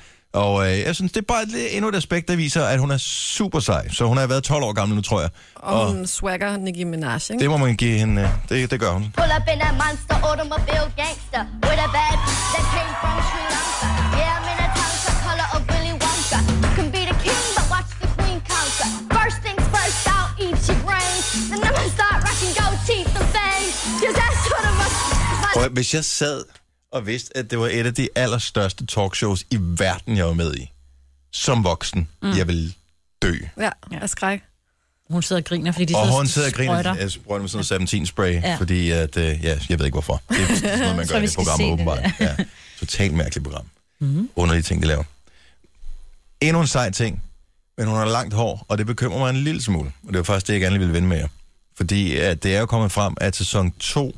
S3: Og øh, jeg synes, det er bare et, endnu et aspekt, der viser, at hun er super sej. Så hun har været 12 år gammel nu, tror jeg.
S6: Og hun swagger Nicki Minaj, ikke?
S3: Det må man give hende. øh, Det, det gør hun.
S13: Pull up in that monster automobile gangster with a bad bitch that came from Sri Lanka. Yeah, I'm in a town the color of Willy Wonka. You can be the king, but watch the queen conquer. First things first, I'll eat your brains. Then I'm gonna start rocking gold teeth and fangs. Cause that's what I'm a- my
S3: Prøv Prøv, at- hvis jeg sad og vidste, at det var et af de allerstørste talkshows i verden, jeg var med i, som voksen, mm. jeg ville dø.
S6: Ja, af skræk.
S4: Hun sidder og griner, fordi de
S3: Og
S4: sidder
S3: hun sidder og griner,
S4: sprøjter.
S3: jeg sprøjter med sådan noget 17 spray,
S4: Ja.
S3: ja. fordi at, øh, ja, jeg ved ikke hvorfor. Det er sådan noget, man
S4: tror,
S3: gør i
S4: vi
S3: det
S4: skal
S3: program,
S4: se det
S3: åbenbart. Ja. Totalt mærkeligt program. Mm-hmm. Underlige ting, de laver. Endnu en sej ting, men hun har langt hår, og det bekymrer mig en lille smule. Og det var faktisk det, jeg gerne lige ville vende med jer. Fordi at det er jo kommet frem, at sæson 2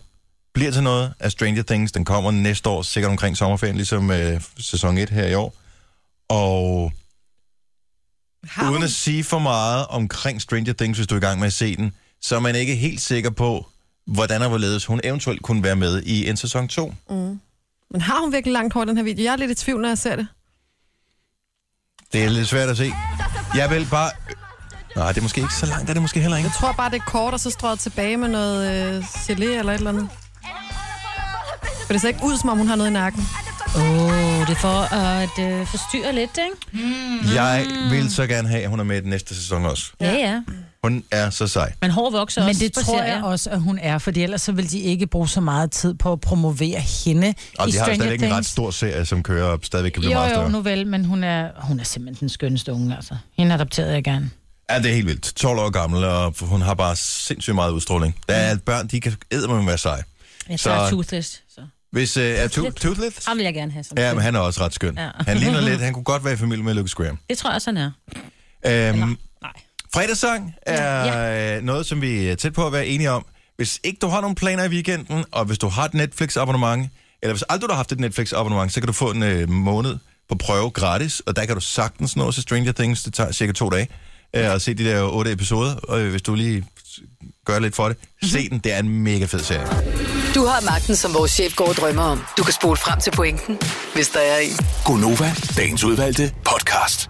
S3: bliver til noget af Stranger Things. Den kommer næste år, sikkert omkring sommerferien, ligesom øh, sæson 1 her i år. Og
S6: Har
S3: Uden at sige for meget omkring Stranger Things, hvis du er i gang med at se den, så er man ikke helt sikker på, hvordan og hvorledes hun eventuelt kunne være med i en sæson 2.
S6: Mm. Men har hun virkelig langt hår, i den her video? Jeg er lidt i tvivl, når jeg ser det.
S3: Det er lidt svært at se. Jeg vil bare... Nej, det er måske ikke så langt, er det måske heller ikke.
S6: Jeg tror bare, det er kort, og så strøget tilbage med noget øh, gelé eller et eller andet. For det ser ikke ud, som om hun har noget i nakken.
S4: Åh, oh, det er for at øh, forstyrre lidt, ikke?
S5: Mm.
S3: Jeg vil så gerne have, at hun er med i den næste sæson også.
S4: Ja, ja.
S3: Hun er så sej.
S4: Men hår vokser
S5: Men
S4: også
S5: det
S4: på
S5: tror
S4: serier.
S5: jeg også, at hun er, for ellers så vil de ikke bruge så meget tid på at promovere hende
S3: Og
S5: i
S3: de har
S5: Stranger
S3: stadigvæk en ret
S5: Things.
S3: stor serie, som kører og stadigvæk kan blive
S5: Jo,
S3: meget
S5: jo,
S3: større.
S5: nu vel, men hun er, hun er simpelthen den skønneste unge, altså. Hende adopterede jeg gerne.
S3: Ja, det er helt vildt. 12 år gammel, og hun har bare sindssygt meget udstråling. Der
S5: Mm.
S3: er børn, de kan eddermame være seje.
S4: Jeg
S3: Så-
S4: tager toothless, så.
S3: Hvis... Øh, er to- Toothless?
S4: Ham vil jeg gerne have som
S3: Ja,
S4: ja,
S3: men han er også ret skøn. Ja.
S4: Ja.
S3: Han ligner lidt. Han kunne godt være i familie med Lucas Graham.
S4: Det tror jeg også, han er.
S3: Øhm,
S4: Nej.
S3: fredagssang er ja. noget, som vi er tæt på at være enige om. Hvis ikke du har nogen planer i weekenden, og hvis du har et Netflix-abonnement, eller hvis aldrig du har haft et Netflix-abonnement, så kan du få en øh, måned på prøve gratis, og der kan du sagtens nå til Stranger Things. Det tager cirka to dage øh, at se de der otte episoder, og øh, hvis du lige gør lidt for det, se den. Det er en mega fed serie.
S1: Du har magten, som vores chef går og drømmer om. Du kan spole frem til pointen, hvis der er en.
S2: Gonova, dagens udvalgte podcast.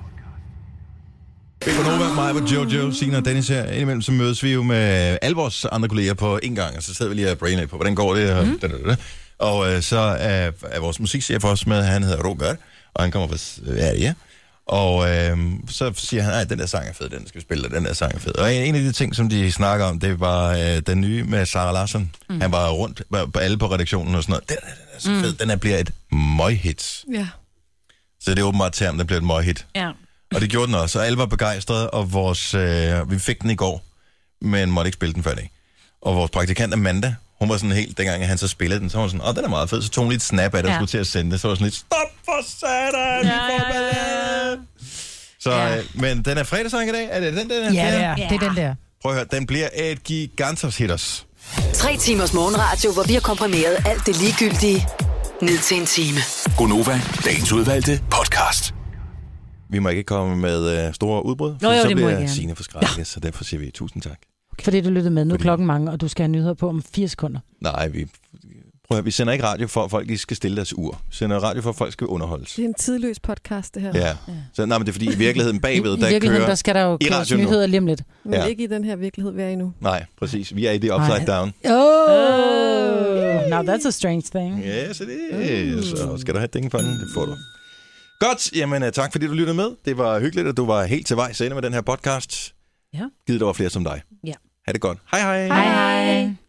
S3: Gonova, mig og Jojo, Sina og Dennis her. Indimellem så mødes vi jo med alle vores andre kolleger på en gang, og så sidder vi lige og brainer på, hvordan går det? Og, mm. da, da, da. og øh, så er, er vores musikchef også med, han hedder Robert, og han kommer fra øh, ja, ja. Og øh, så siger han, at den der sang er fed, den skal vi spille, og den der sang er fed. Og en, en af de ting, som de snakker om, det var øh, den nye med Sarah Larsen. Mm. Han var rundt på, på alle på redaktionen og sådan noget. Den, der, den er så fed, mm. den her bliver et møghit.
S6: Ja.
S3: Så det er åbenbart termen, der bliver et møghit.
S4: Ja.
S3: Og det gjorde den også, og alle var begejstrede, og vores, øh, vi fik den i går, men måtte ikke spille den før i dag. Og vores praktikant Amanda, hun var sådan helt, dengang han så spillede den, så var hun sådan, åh, den er meget fed, så tog hun lige et snap af det, ja. og
S4: Ja.
S3: skulle til at sende det, så var hun sådan lidt, stop for satan, ja, ja, ja, ja. Så, ja. Øh, men den er fredagssang i dag, er det den, den er?
S5: Ja, det er. Det er den der.
S3: Prøv at høre, den bliver et gigantos hitters.
S1: Tre timers morgenradio, hvor vi har komprimeret alt det ligegyldige ned til en time.
S2: Gonova, dagens udvalgte podcast.
S3: Vi må ikke komme med øh, store udbrud,
S4: jo,
S3: så
S4: det må jeg
S3: bliver
S4: gerne.
S3: Signe forskrækket, ja. så derfor siger vi tusind tak.
S5: Fordi du lyttede med. Nu er klokken mange, og du skal have nyheder på om 4 sekunder.
S3: Nej, vi, prøv at, høre, vi sender ikke radio for, at folk lige skal stille deres ur. Vi sender radio for, at folk skal underholdes.
S6: Det er en tidløs podcast, det her.
S3: Ja. ja. Så, nej, men det er fordi, i virkeligheden bagved, der
S5: I virkeligheden,
S3: kører...
S5: der skal der jo
S3: i
S5: køres
S3: radioen nu.
S5: nyheder lige om lidt.
S6: Men
S3: Ja.
S6: ikke i den her virkelighed, vi er i nu.
S3: Nej, præcis. Vi er i det upside down.
S5: Mm. Oh! Now that's a strange thing.
S3: Yes, it is.
S5: Mm.
S3: Og skal du have dænge for den? Det får du. Godt, jamen øh, tak fordi du lyttede med. Det var hyggeligt, at du var helt til vej senere med den her podcast.
S4: Ja.
S3: Givet der var flere som dig.
S4: Ja.
S3: Ha' det godt. Hej hej.
S6: Hej hej.